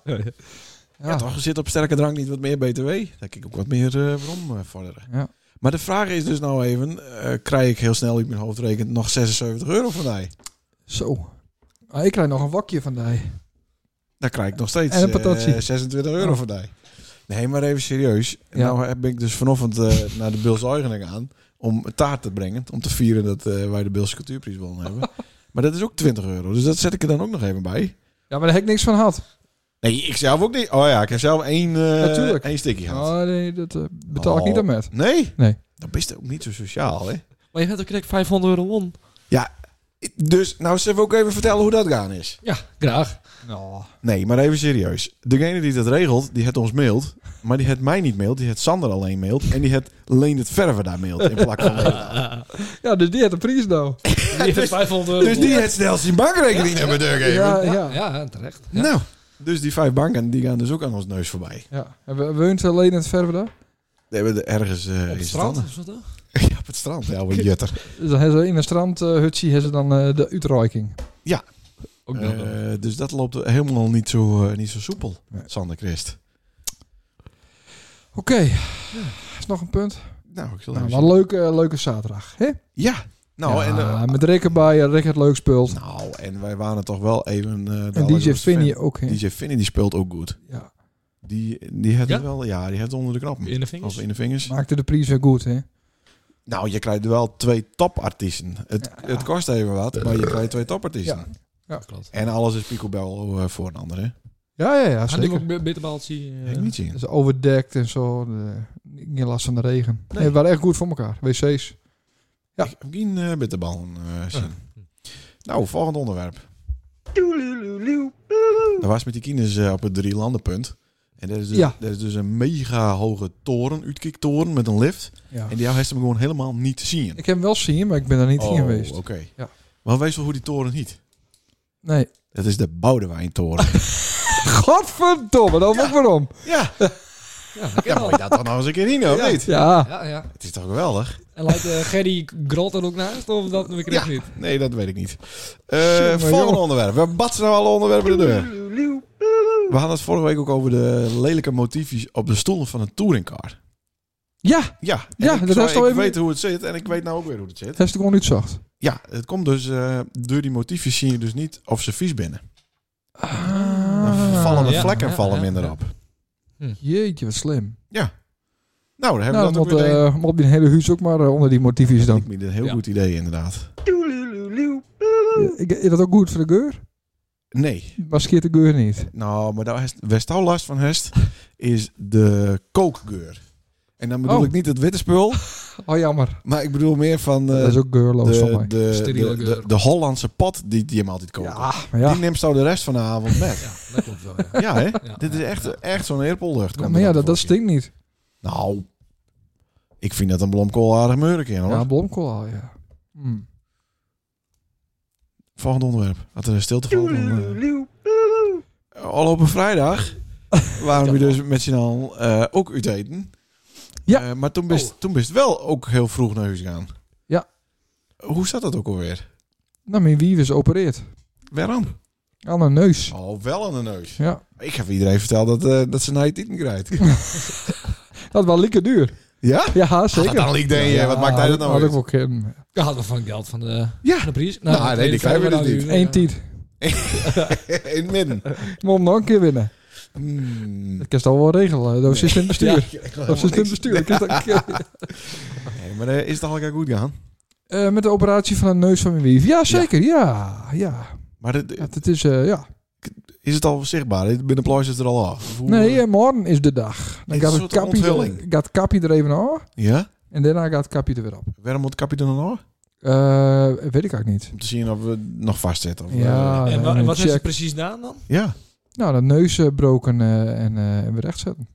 Ja,
Ja, toch zit op sterke drank niet wat meer BTW. Daar kijk ik ook wat meer eh waarom eh, vorderen.
Ja.
Maar de vraag is dus nou even, eh, krijg ik heel snel uit mijn hoofd rekent nog 76 euro van mij?
Zo. Ah, ik krijg nog een wakje van die.
Dan krijg ik nog steeds
En een
eh,
patatje. Oh.
26 euro van mij. Nee, maar even serieus.
Ja.
Nou ben ik dus vanochtend eh, [LAUGHS] naar de Bils Eugening aan om een taart te brengen. Om te vieren dat eh, wij de Bilse Cultuurprijs wonnen
[LAUGHS]
hebben. maar dat is ook 20 euro. Dus dat zet ik er dan ook nog even bij.
Ja, maar daar heb ik niks van gehad.
Nee, ik zelf ook niet. Oh ja, ik heb zelf één, eh
Natuurlijk.
één stikje gehad.
Oh nee, dat eh, betaal ik
Oh.
niet aan met.
Nee?
Nee.
Dan ben je ook niet zo sociaal, hè?
Maar je hebt ook direct 500 euro won.
Dus, nou, zullen we ook even vertellen hoe dat gaan is?
Ja, graag.
Nou.
Nee, maar even serieus. Degene die dat regelt, die het ons mailt. Maar die het mij niet mailt, die het Sander alleen mailt. En die het Leen het Verven daar mailt in plaats
[LAUGHS]
van Leendert.
Ja, dus die had een prijs nou.
Je hebt 500 euro
[LAUGHS] Dus die het snel zijn bankrekening naar beneden geven.
Ja,
won.
ja.
Ja, ja, terecht. Ja.
Nou, dus die vijf banken, die gaan dus ook aan ons neus voorbij.
ja. Hebben we het alleen in het verven daar?
Die hebben er ergens... eh,
Op
in
het strand
Standen.
of zo toch?
[LAUGHS] Ja, op het strand. Ja, wat jutter.
Dus dan hebben ze in een strandhutje hebben ze dan eh, de uitreiking.
Ook nog wel.
Eh, dus dat loopt helemaal niet zo, eh, niet zo soepel,
Nee.
Sander Christ.
Oké. Is nog een punt?
Nou, ik zal
Nou,
even
wat een leuke, leuke zaterdag. Hè?
Ja, nou
Ja,
en... eh,
met Rick erbij, eh, Rick het leuk speelt.
nou, en wij waren toch wel even... eh, de
en DJ
allergrootste
Finny
fan.
ook. hè?
DJ Finny die speelt ook goed.
Ja.
Die, die heeft
Ja?
het wel, ja, die heeft het onder de knappen.
In de vingers.
Of in de vingers.
Maakte de prijs weer goed, hè?
Nou, je krijgt wel twee topartiesten. Het,
Ja.
het kost even wat, maar je krijgt twee topartiesten.
Ja.
Klopt.
En alles is picobello eh, voor een ander, hè?
Ja, ja, ja,
Had ik
zeker.
ook een bitterbaaltje? eh,
Heb ik niet zien.
Dus Ah, overdekt en zo. De, geen last van de regen. Nee, we waren echt goed voor elkaar. WC's. Ja.
Ik heb geen eh bitterbal eh, zien.
Ah.
Nou, volgend onderwerp. Dat was met die kinders eh, op het drie landenpunt. En dat is, dus,
Ja.
dat is dus een mega hoge toren, uitkiktoren met een lift.
Ja.
En die heeft hem gewoon helemaal niet te zien.
Ik heb hem wel zien, maar ik ben daar niet in geweest.
Oh, Oké.
Ja.
Maar wees wel hoe die toren niet.
Nee.
Dat is de
[LAUGHS]
Boudewijntoren.
Godverdomme, dan ook waarom.
ja.
Ja,
ja, moet je dat dan nou eens een keer in, of
Ja.
niet?
Ja.
Ja, ja.
Het is toch geweldig?
En lijkt eh, Gerry Grot er ook naast? Of dat ik echt niet?
Nee, dat weet ik niet. Eh,
Jongen,
volgende
jongen.
onderwerp. We batsen nou alle onderwerpen de deur. We hadden het vorige week ook over de lelijke motiefjes op de stoelen van een touringcar.
Ja,
Ja, en
Ja,
ik,
dat
zou-
was al
ik
even-
weet hoe het zit en ik weet nou ook weer hoe het zit.
heeft ik gewoon niet zacht.
Ja, het komt dus eh, door die motiefjes zie je dus niet of ze vies binnen. Dan
Ah,
vallen de
ja,
vlekken
ja,
vallen
ja,
minder
ja.
op.
Jeetje, wat slim.
Nou, daar hebben
Nou,
we
dan
dat
moet,
ook weer een-
eh, moet je hele huis ook maar eh, onder die motiefjes
Dat [LAUGHS]
dan.
lijkt me een heel
Ja.
goed idee inderdaad.
Eh, Ik, is dat ook goed voor de geur?
Nee,
Maar scheert de geur niet.
nou, maar daar Westouw last van hest is de kookgeur. En dan bedoel
Oh.
ik niet het witte spul,
Oh, jammer.
maar ik bedoel meer van eh,
dat is ook geurloos van
de,
mij.
de,
Steriele
de, de,
geur.
de Hollandse pot die, die hem altijd kookt.
Ja, maar ja.
Die neemt zo de rest van de avond met.
Ja, dat klopt wel. Ja.
Ja, hè?
Ja.
Dit is echt, echt zo'n eerpollucht.
Ja, maar ja, dat, dat stinkt niet.
Nou, ik
Hmm.
vind dat een blomkool aardig meurk in, hoor.
Ja, blomkool al, ja. Hm.
Volgend onderwerp. Had er een stilte valt. Dan, eh, al op een vrijdag waren we dus met z'n allen eh, ook uit eten.
Ja.
Eh, maar toen
Oh.
best, toen best wel ook heel vroeg naar huis gegaan.
Ja.
Hoe zat dat ook alweer?
Nou, mijn wief is opereerd.
Waarom?
Aan een neus.
Al wel aan de neus.
Ja.
Ik heb iedereen verteld dat, eh, dat ze naar het eten krijgt.
Dat was lekker duur.
[LAUGHS] ja? [LAUGHS]
Ja, zeker.
Ah, dan liep denk je, wat maakt hij dat nou
Had
uit?
ik wel kunnen.
Ja, hadden we van geld van de,
Ja.
van de prijs.
Nou, nee, die krijgen we dus niet.
Eén tiet.
[LAUGHS] In het midden.
Moet hem nog een keer winnen.
Hmm.
Dat kan je toch wel regelen. Dat is in het bestuur. Dat is in het bestuur. Dat kan je toch-
[LAUGHS] [LAUGHS] Nee, maar eh, is het eigenlijk goed gaan?
Eh, met de operatie van de neus van mijn wief. Ja, zeker. Ja, ja.
Maar dit-
Dat het is, eh, ja.
is het al zichtbaar? Binnen pluis is het er al af. Of hoe-
Nee, eh, morgen is de dag. Dan
Dit
gaat
is een
het
soort
kappie,
onthulling.
er- gaat kappie er even af.
Ja?
En daarna gaat het kappie er weer op.
Waarom moet kapje dan nog?
Eh, weet ik eigenlijk niet.
Om te zien of we nog vastzitten. Of,
Ja.
eh,
En, wa- en wat is
Check.
het precies gedaan dan?
ja. Maar
Nou, dat neus eh, broken eh, en, eh, en weer rechtzetten.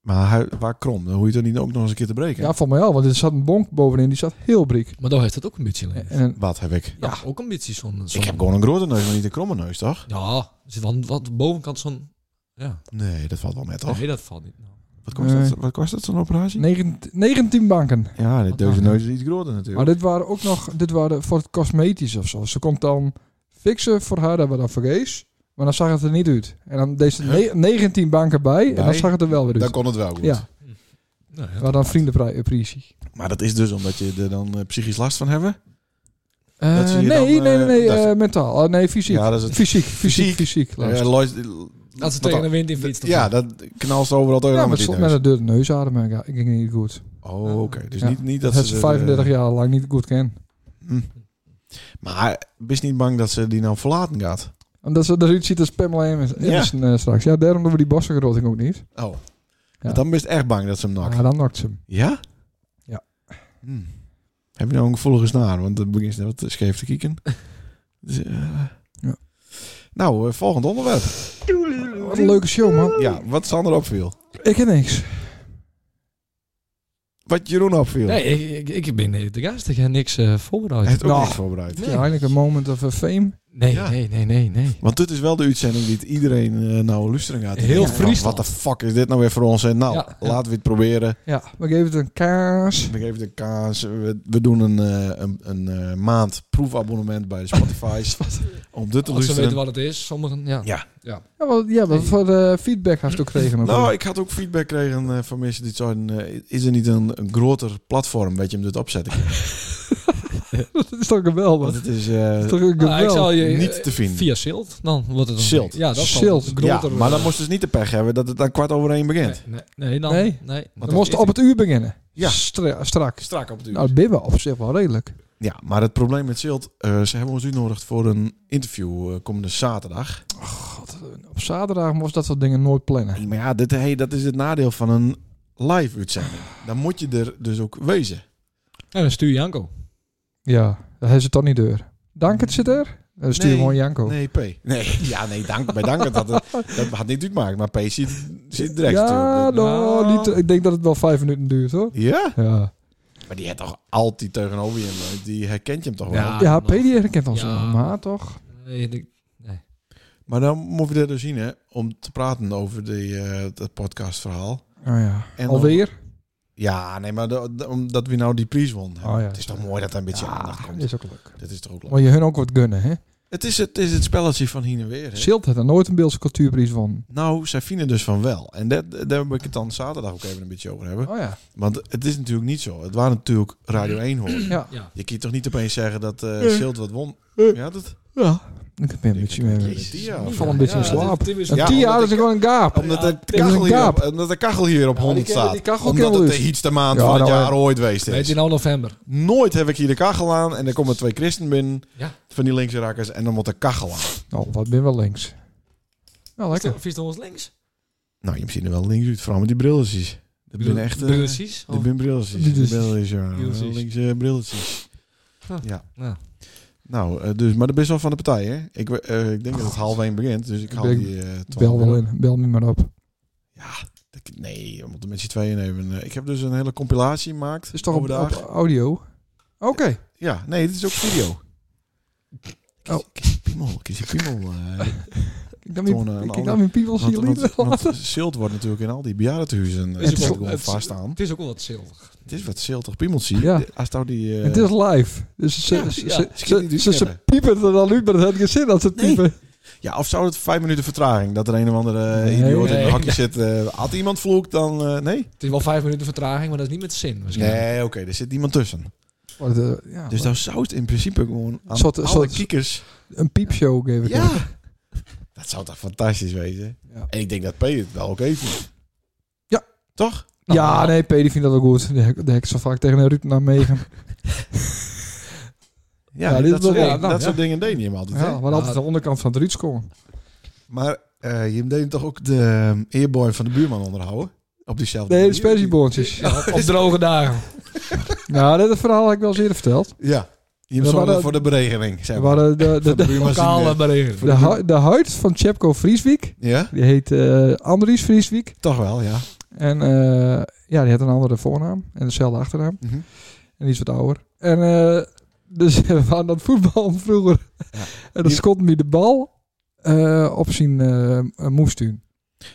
Maar hij- waar krom? Dan hoef je het dan niet ook nog eens een keer te breken.
Ja, voor mij al. Want er zat een bonk bovenin. Die zat heel briek.
Maar dan heeft het ook een beetje
En,
leven.
en-
Wat heb ik?
Ja, ook een beetje zo'n... zo'n-
Ik heb gewoon een grote neus, maar niet een kromme neus, toch?
Ja, er zit wel wat bovenkant zo'n... Ja,
Nee, dat valt wel met, toch?
nee, dat valt niet. Nou,
Wat kost,
Nee.
dat, wat kost dat zo'n operatie?
19, 19 banken.
Ja, de
Wat
deze
dan?
neus is iets groter natuurlijk.
Maar dit waren ook nog, dit waren voor het cosmetisch of zo. Ze komt dan fixen voor haar, dat we dan vergees. Maar dan zag het er niet uit. En dan deed ze ne- 19 banken bij, en dan
Bij?
zag het er wel weer
dan
uit.
kon het wel goed.
Ja,
nou ja.
we hadden een vriendenprijsie.
Maar dat is dus omdat je er dan eh, psychisch last van hebben.
Eh,
Dat zie
nee,
je
nee,
dan,
nee,
eh,
nee,
dat-
eh, mentaal. Ah, nee, fysiek.
Ja, dat is het.
Fysiek, fysiek,
Fysiek.
fysiek.
Eh,
luister.
Lois-
Dat ze
wat
tegen de
dan?
wind in fietsen.
Ja, dat knalst overal tegen
ja,
aan
maar
met
het
die
stond met
neus.
een deur neus ademen. Ja, ging niet goed.
Oh, oké. Dus
Ja.
niet, niet dat,
Dat had ze
er,
35
eh,
jaar lang niet goed ken.
Maar ben je niet bang dat ze die nou verlaten gaat?
Omdat ze eruit ziet als Pamela Anderson
Ja.
eh, straks. Ja, daarom doen we die bossengroting ook niet.
Oh. Want Dan ben je echt bang dat ze hem nakt.
Ja, dan nakt ze hem.
Ja?
Ja.
Hmm. Heb je nou een gevoelige snaar? Want dan begint ze wat scheef te kieken. [LAUGHS] Dus, eh,
Ja.
Nou, eh, volgend onderwerp.
Wat een leuke show, man.
Ja, wat Sander opviel.
Ik heb niks.
Wat Jeroen opviel.
Nee, ik, ik, ik ben eh, de gast. Ik heb niks eh,
Hij
voorbereid.
heeft ook
Nou.
niks voorbereid.
Nee.
Ja, eigenlijk een moment of eh, fame.
Nee,
Ja.
nee, nee, nee, nee.
Want dit is wel de uitzending die het iedereen eh, nou luisteren gaat.
Heel
Ja.
Friesland.
Wat de fuck is dit nou weer voor ons? En nou,
Ja.
laten we het proberen.
Ja, we geven het een kaas.
We geven de kaas. We, we doen een, eh, een, een eh, maand proefabonnement bij de
[LAUGHS]
Spotify. om dit te
Als ze weten
luisteren.
wat het is, sommigen, ja.
Ja.
Ja, wat, ja, wat voor eh, feedback had je ook gekregen? of
Nou,
niet?
ik had ook feedback gekregen eh, van mensen die zeiden... eh, is er niet een, een groter platform dat je hem dit opzetten kan?
dat is toch geweldig?
Want het is... eh,
[LAUGHS]
Dat is toch een
Nou, ik zal
geweldig?
je,
niet te vinden.
Via Silt, dan wordt het een-
Silt.
Ja, dat zal
Silt.
een
ja,
groter,
maar dan
eh,
moest je dus niet de pech hebben dat het dan kwart over één begint.
Nee, nee, nee, dan,
Nee.
nee.
Want
We moesten op het uur beginnen.
Ja.
Stra- strak.
Strak op het uur.
Nou, dat bibben op zich wel redelijk.
Ja, maar het probleem met Silt... eh, ze hebben ons uitgenodigd voor een interview eh, komende zaterdag.
Op zaterdag moest dat soort dingen nooit plannen.
Maar ja, dit, hey, dat is het nadeel van een live uitzending. Dan moet je er dus ook wezen.
En dan stuur je Janko.
Ja, dat is het toch niet deur. Dank het zit er. Dan stuur
Nee,
gewoon Janko.
Nee, P. Nee, [LAUGHS] ja, nee, dank, bij dank. Dat, dat, dat had niet uitmaakt, maar P zit, zit direct.
ja,
natuurlijk.
nou,
Nou.
niet, ik denk dat het wel vijf minuten duurt hoor.
ja?
Ja,
Maar die heeft toch altijd tegenover je hem. eh, Die herkent je hem toch wel.
Ja,
ja
nog.
P die herkent ons.
Ja.
Maar toch?
Nee, ik-
Maar dan moet je dat dus zien, hè. Om te praten over die, eh dat podcastverhaal.
Oh ja.
En dan-
Alweer?
ja, nee, maar de- de- omdat we nou die prijs won.
Oh ja.
Het is toch mooi dat er een beetje aandacht
Ja,
komt.
is ook leuk.
Dat is toch ook leuk.
Moet je hun ook wat gunnen, hè?
Het is het, het is het spelletje van hier en weer, hè.
Silt had er nooit een Beeldse cultuurprijs van.
Nou, zij vinden dus van wel. En dat, daar wil ik het dan zaterdag ook even een beetje over hebben.
Oh ja.
Want het is natuurlijk niet zo. Het waren natuurlijk Radio 1 hoor.
Ja.
ja.
Je kunt toch niet opeens zeggen dat eh
Eh.
Schild wat won?
Eh.
Ja, dat?
Ja. Ik ben een beetje...
Jezus, ja.
Ik val een beetje in slaap.
dit- dit is-
Een
Ja,
tien jaar
omdat
is gewoon een gaap.
Omdat,
Ja,
de
Tim
is
kachel
een
hier
kaap.
op, omdat de kachel hier op 100
kennen
staat.
die kachel
omdat
kennen we
het de
dus.
heetste maand
Ja,
van het
nou,
jaar ooit geweest
Weet
is.
je nou november?
Nooit heb ik hier de kachel aan en er komen twee christen binnen
Ja.
van die linkse rakkers en dan moet de kachel aan.
Nou, wat ben wel links. Nou, lekker.
Vies ons links?
Nou, je ziet er wel links uit, vooral met die brilletjes. Dat ben echt... eh,
Precies. Oh.
Dat ben brilletjes.
Brilletjes.
Brilletjes, ja.
Brilletjes.
Linkse brilletjes.
Ah.
Ja.
Ja.
Nou, eh, dus, maar dat is wel van de partij, hè? Ik, we- eh, ik denk dat het half één begint, dus ik haal
denk-
die eh twaalf
Bel wel in. Bel me maar op. Het
Ik- Nee, we moeten met z'n tweeën nemen. Eh, Ik heb dus een hele compilatie gemaakt.
is toch op,
overdag.
op audio? Oké.
Ja, nee, dit is ook video. Kies,
Oh.
kies je piemel, kies je piemel. eh.
Ik nam
Gewoon, eh,
mijn,
een
ik nam
ander-
mijn piemel zien
want,
jullie
want, want zilt wordt natuurlijk in al die bejaardentehuizen
Is
eh,
het ook-
gewoon
het-
vaststaan.
Het is ook wel wat zilver.
Het is wat ziltig piemeltje.
Ja.
Als nou die... eh,
Het is live. Dus ze,
Ja,
ze,
ja.
ze-
Schiet dus niet
ze, ze, ze
uitkennen.
piepen er al uit, maar dat heeft geen zin dat ze
Nee.
piepen.
Ja, of zou het vijf minuten vertraging? Dat er een of andere eh,
Nee.
idioot in
Nee.
een hakje zit. eh, had iemand vloekt, dan... eh, nee?
Het is wel vijf minuten vertraging, maar dat is niet met zin. Waarschijnlijk.
Nee, oké. er zit niemand tussen.
Ah, Maar de- eh, ja,
Dus
maar
dan zou het in principe gewoon aan
Soort-
alle
soort-
kiekers...
[LAUGHS] Een piepshow geef ik hem.
Ja! Nou, Dat zou toch fantastisch wezen?
Ja.
En ik denk dat P het wel oké vindt.
Ja.
Toch?
Ja, nee, Pedi vindt dat ook goed. De hek, de hek zo vaak tegen Ruud naar Megen.
Ja,
Ja,
dat,
dit is wel-
soort, dingen-
ja, nou,
dat
ja.
soort dingen deed hij hem altijd. hè?
Ja, maar altijd aan de onderkant van de Ruud komen.
Maar eh, je deed toch ook de ehm, eerboy van de buurman onderhouden? Op diezelfde
Nee, de
manier?
spersieboontjes.
Ja, op, op droge dagen.
Nou, dat verhaal heb ik wel eens eerder verteld.
Ja. Je
We
zorgde
hadden-
voor de beregeling, zeg
We
maar.
hadden de,
[LAUGHS]
de,
Van de
de,
buurman zien,
Lokale
eh,
berichten.
de, hu- de huid van Chepko Vrieswiek.
Ja,
Die heet eh Andries Vrieswiek.
toch wel, ja.
En eh, ja, die had een andere voornaam en dezelfde achternaam.
Mhm.
En die is wat ouder. En eh, dus [LAUGHS] we waren dat voetbal vroeger.
Ja.
En dan schot hij de bal eh, op zijn eh moestuin.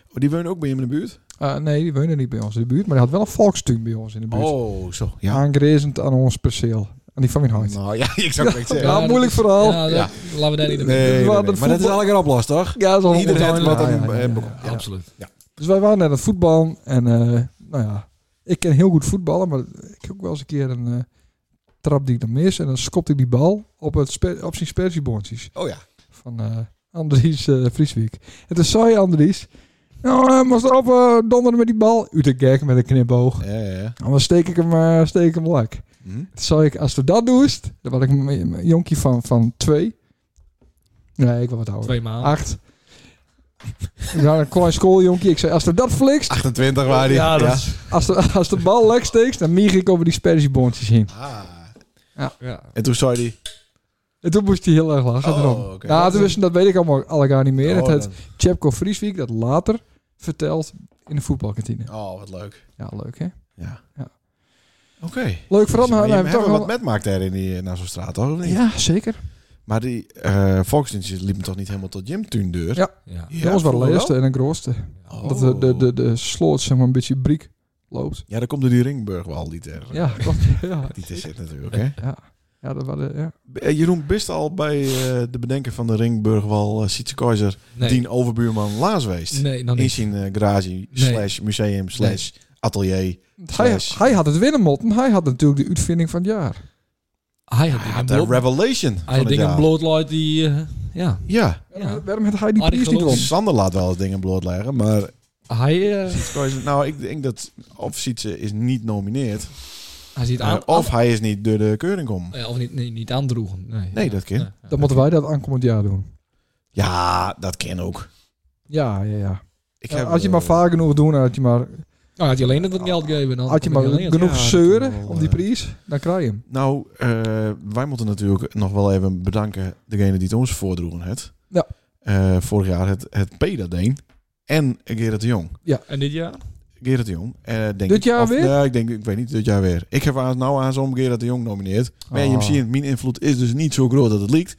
Oh, die wonen ook bij hem in de buurt?
Eh, nee, die woonde niet bij ons in de buurt, maar die had wel een volkstuin bij ons in de buurt.
Oh, zo. Ja.
Aangrenzend aan ons perceel. Aan die van mijn huid.
Nou ja, ik zou het niet zeggen.
Ja, moeilijk verhaal.
Ja, dat-
Ja.
Laten we daar
Nee,
niet
nee,
in
nee,
We
nee.
hadden
Maar dat is
voetbal-
al lekker oplost, toch?
Ja, dat is al
Iedereen had wat eh,
Ja,
hem
ja, ja,
hem
ja.
bekomt. Ja.
Absoluut.
Dus wij waren net aan het voetballen. En eh, nou ja, ik ken heel goed voetballen, maar ik heb ook wel eens een keer een eh, trap die ik dan mis. En dan skopte ik die bal op, het spe- op zijn spersieboontjes
Oh ja.
van eh, Andries eh Vrieswiek. En toen zei Andries, nou, eh, moest erop eh, donderen met die bal. Uit de gek met een knipoog.
Ja, ja, ja.
En dan steek ik hem, eh, steek ik hem lak.
Hm?
Toen zei ik, als we dat doest, dan was ik een- een jonkie van, van twee. Nee, ik wil wat ouder.
Twee maanden.
Acht. Ik was een klein schooljonkie. Ik zei, als we dat flikst,
28 waren die.
Ja, dat
ja.
is-
als de, als de bal lek steekt, dan mieg ik over die spersieboontjes heen.
Ah.
Ja.
En toen zei hij...
En toen moest hij heel erg lachen.
Oh,
erom.
oké.
Ja, toen wisten, dat weet ik allemaal alle gar niet meer.
Oh,
het had
dan-
Chepko Frieswiek dat later verteld in de voetbalkantine.
oh, wat leuk.
Ja, leuk hè?
Ja.
Ja.
Oké. Dus
Leuk verhaal.
Maar
Nou,
je
nou,
hebt
toch
wel wat
wel-
met maakt daar in die, eh, naar zo'n straat, toch? Of niet?
Ja, zeker.
Maar die eh volksdienstjes liepen toch niet helemaal tot Jim-tuindeur?
Ja.
Ja.
dat was wel de
vroeger
eerste en de grootste.
Oh.
Dat de, de, de, de sloot zeg maar een beetje briek loopt.
Oh. Ja, dan komt er die Ringburg wel niet er. [LAUGHS]
Ja, klopt. Ja,
Die te zitten natuurlijk, hè?
ja dat waren ja.
B- eh, Jeroen, bist al bij eh, de bedenker van de Ringburgwal, eh Sietse Keizer,
Nee.
dien overbuurman Laas geweest?
Nee, nog
In
niet.
zijn eh, garage, slash museum, slash atelier.
Hij,
Slash-
hij had het winnen motten. Hij had natuurlijk de uitvinding van het jaar.
Hij
Hij had
had
de
een bloot-
revelation
hij had
van het
dingen
jaar.
blootlight die... eh, Ja.
Ja,
Ja.
Waarom had hij die
Aardig
prijs niet
geloof.
won?
Sander laat wel eens dingen blootleggen, maar
Hij, eh,
Sietse Keizer- nou, ik denk dat of Sietse is niet nomineerd,
hij ziet aan...
eh, of hij is niet door de keuring om.
Ja, of niet, Nou, nee, niet aandroegen. Nee,
Nee,
Ja.
dat kan.
Ja, ja.
Dan moeten wij dat aankomend jaar doen.
Ja, dat kan ook.
Ja, ja, ja.
Ik
Ja,
heb,
als je
eh,
maar vaak genoeg doet en dat je maar,
Nou, had je alleen het wat geld gegeven. Dan
had je
dan
maar
had alleen het.
genoeg
ja, dat
zeuren
kan wel,
om die
eh.
prijs, dan krijg je hem.
Nou, eh, wij moeten natuurlijk nog wel even bedanken degene die het ons voordroegen het.
Ja.
Eh, vorig jaar het, het P dat deed. En Gerrit de Jong.
En dit jaar?
Gerrit de Jong. eh, denk
Dit
ik,
jaar
of-
weer?
Ja, ik denk, ik weet niet, dit jaar weer. Ik heb aan- nou aan zo'n Gerrit de Jong nomineerd. Maar je
Ah.
ziet, mijn invloed is dus niet zo groot dat het liekt.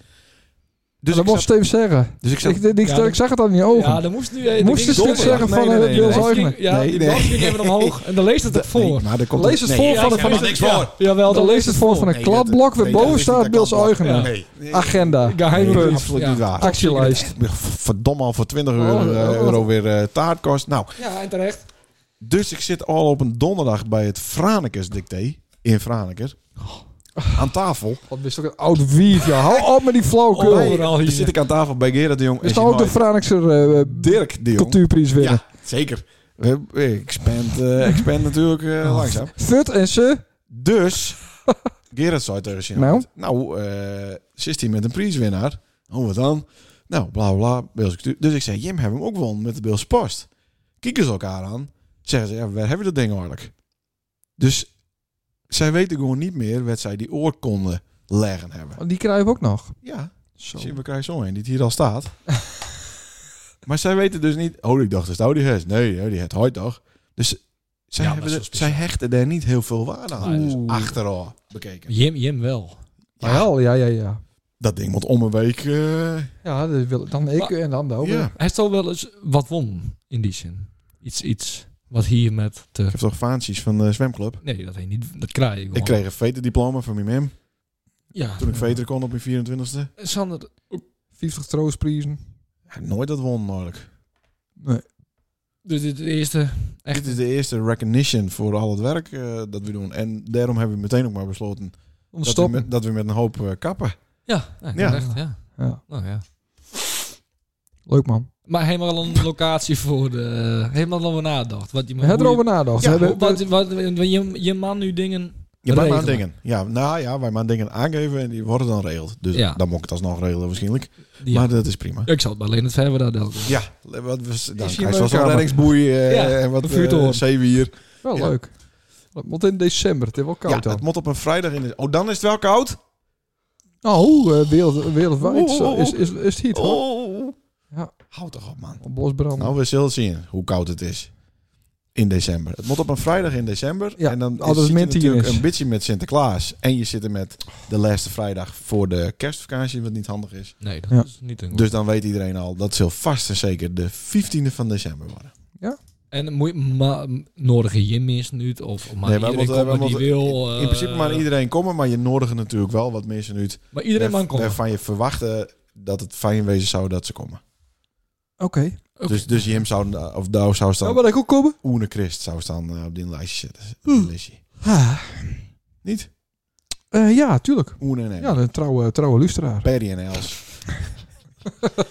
Dus
dat
ik,
moest
zat,
Steven zeggen.
dus ik
Ik,
zat...
ik, ik,
Ja,
ik zag het al in je ogen.
Ja, dan moest nu... eh,
moest je
dan ging
Steven
het
zeggen
Nee,
van
nee,
eh,
nee,
Jules
nee.
Nee,
Huigman.
Ja,
Nee,
die
nee.
balk ging even omhoog. En dan leest het het
Nee,
voor.
maar daar komt
Lees het
nee,
voor
ja,
van
ik
het-
heb
van
er
het-
niks voor.
Jawel,
Dan
dan
leest het voor van een
Nee, dat-
kladblok.
nee,
Waarboven
dat is
staat
niet
Bils Ah,
dat kan.
Eugenaar.
Nee, nee,
Agenda.
nee,
Geheimpunt.
absoluut
Ja.
niet waar.
Actielijst.
Verdomme al voor 20 euro,
Oh,
eh,
oh, oh.
euro weer eh, taart kost. Nou,
Ja, en terecht.
Dus ik zit al op een donderdag bij het Franeker dicté in Franeker. Aan tafel.
Wat wist ook een oud wief. ja. Hou op met die flauwekul.
Oh, Overal
Dan
hier.
zit ik aan tafel bij Gerard de Jong.
Is
en
toch Dus ook de
Simon.
Franikse eh,
Dirk de Jong.
cultuurprijs winnen?
Ja, zeker. Eh, Ik spend, eh, ik spend natuurlijk eh,
Oh.
langzaam.
Ah. Fut en ze.
Dus, [LAUGHS] Gerard zei tegen Sjoerd,
Nou?
Nou, eh, zit hij met een prijswinnaar. Oh, wat dan? Nou, bla bla, Beelse cultuur. Dus ik zei, Jim, hebben we hem ook gewonnen met de Beelse Post. Kieken ze elkaar aan. Zeggen ze, ja, waar hebben we dat ding eigenlijk? Dus zij weten gewoon niet meer wat zij die oorkonde leggen hebben.
Die krijgen we ook nog.
Ja,
Zo.
zien we krijgen zo een, die het hier al
[LAUGHS]
staat. maar zij weten dus niet... Oh, ik dacht, dat is nou die hest. Nee, nee, die het hooit toch? Dus zij,
Ja, maar
hebben
dat
de-
is wel
zij hechten daar niet heel veel waarde aan.
Nee,
Dus
oeh.
achteraf bekeken.
Jim, Jim wel.
Ja, ja, ja. ja.
Dat ding moet om een week... eh,
Ja, dat wil, dan ik
Maar-
en dan de andere.
ja. Ik
Hij heeft al wel eens wat won in die zin. Iets, iets wat hier met te...
heb toch faantjes van de zwemclub.
Nee, dat, hij niet, dat krijg je gewoon.
Ik kreeg een veterdiploma van mijn mem.
ja.
Toen ik veter kon op mijn 24ste.
Sander,
50 troostprijzen.
Ja, nooit dat won, mogelijk.
dus dit is de eerste... Echt.
Dit is de eerste recognition voor al het werk eh, dat we doen. En daarom hebben we meteen ook maar besloten
Om te
dat we,
stoppen.
met, dat we met een hoop eh, kappen.
Ja, ja,
Ja.
Echt, ja.
Ja,
Nou ja.
leuk man.
Maar helemaal al een locatie voor de... Helemaal al over nadacht. Wat je
We hebben
hoe je-
erover nagedacht.
Ja,
we hebben,
Wat, wat, wat- je, je man nu dingen...
Ja, wij maar
regelen.
dingen. Ja, nou ja, wij maar dingen aangeven en die worden dan regeld. Dus
Ja.
dan moet ik het alsnog regelen waarschijnlijk.
Die-
Maar dat is prima.
Ik zal het bij alleen het verder daar doen.
Ja, wat we, dan
Is
krijg je
hier
zoals
leuk,
een
ja,
reddingsboei eh,
Ja,
en wat
een vuurtoren.
eh, zeewier.
wel
ja.
leuk. Dat moet in december. Het is wel
Ja,
koud
het
dan.
moet op een vrijdag in de... Oh, dan is het wel koud?
Oh, eh, wereld, wereldwijd
Oh,
zo-
oh,
is, is, is het heet hoor.
Oh.
Ja.
Houd toch op, man.
Op bosbrand.
Nou, we zullen zien hoe koud het is. In december. Het moet op een vrijdag in december.
Ja,
en dan
als het
zit je
min tien
natuurlijk
is.
een beetje met Sinterklaas. En je zit er met de laatste vrijdag voor de kerstvakantie, wat niet handig is.
Nee, dat
Ja.
is niet een
Dus dan weet iedereen al, dat zal vast en zeker de 15e van december worden.
En moet je maar nodige Jim is nu het, of of maar
Nee, wij
iedereen
moeten-
komt
wij
die
moeten-
wil.
in principe
eh,
maar iedereen komen, maar je nodigt natuurlijk wel wat mensen uit.
Maar iedereen
waar-
man komt.
Waarvan je verwachtte dat het fijn wezen zou dat ze komen.
Oké.
Oké.
Dus, dus Jim zou, of Douw zou
Nou,
staan,
maar ik ook komen.
Oene Christ zou staan eh, op die lijstje zitten. Die lijstje.
Ah,
Niet?
eh, ja, tuurlijk.
Oene en Em.
Ja, een trouwe, trouwe luisteraar.
Perry en Els.
[LAUGHS]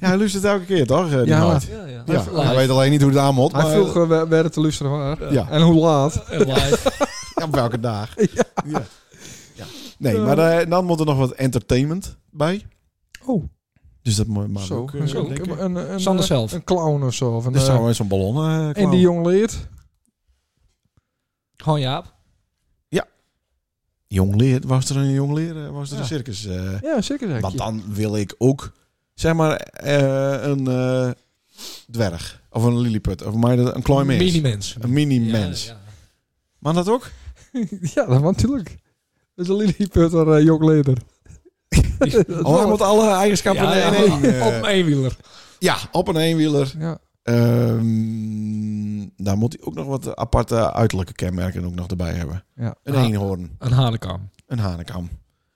ja, hij luistert elke keer, toch? eh, Die
Ja.
maat?
Ja, ja.
ja. Hij weet alleen niet hoe het aan moet.
Hij
maar-
vroeg eh, waar waar het te luisteren waar.
Ja.
En hoe laat.
En live.
[LAUGHS] Ja, op welke
[LAUGHS]
dag. ja. Ja. Nee, maar eh, dan moet er nog wat entertainment bij.
Oh,
Dus dat moet maar
zo.
ook...
Een-
eh,
zo.
denken.
een, een, een,
Sander
eh,
zelf.
Een clown of zo. Of een,
Dus
eh,
zouden we zo'n ballon eh,
en
klauwen.
die jong leert.
Gewoon Jaap.
Jong leer, was er een jong leer, eh, was er een
Ja.
circus. eh,
Ja, zeker. zeg ik
want
je.
dan wil ik ook, zeg maar, eh, een eh, dwerg. Of een lilliput. Of maar een klein mens.
Mini-mens.
Een mini-mens.
Ja, ja.
Maar dat ook?
[LAUGHS] ja, dat natuurlijk. Dat is een Lilliputter eh
[LAUGHS]
jongleder.
Oh, hij moet alle eigenschappen
Ja, ja,
in één. eh, [LAUGHS]
Op een eenwieler.
ja, op een eenwieler.
Ja.
Ehm, daar moet hij ook nog wat aparte uiterlijke kenmerken ook nog erbij hebben.
Ja.
Een
Ah.
eenhoorn,
Een
[LAUGHS]
hanekam.
een hanekam.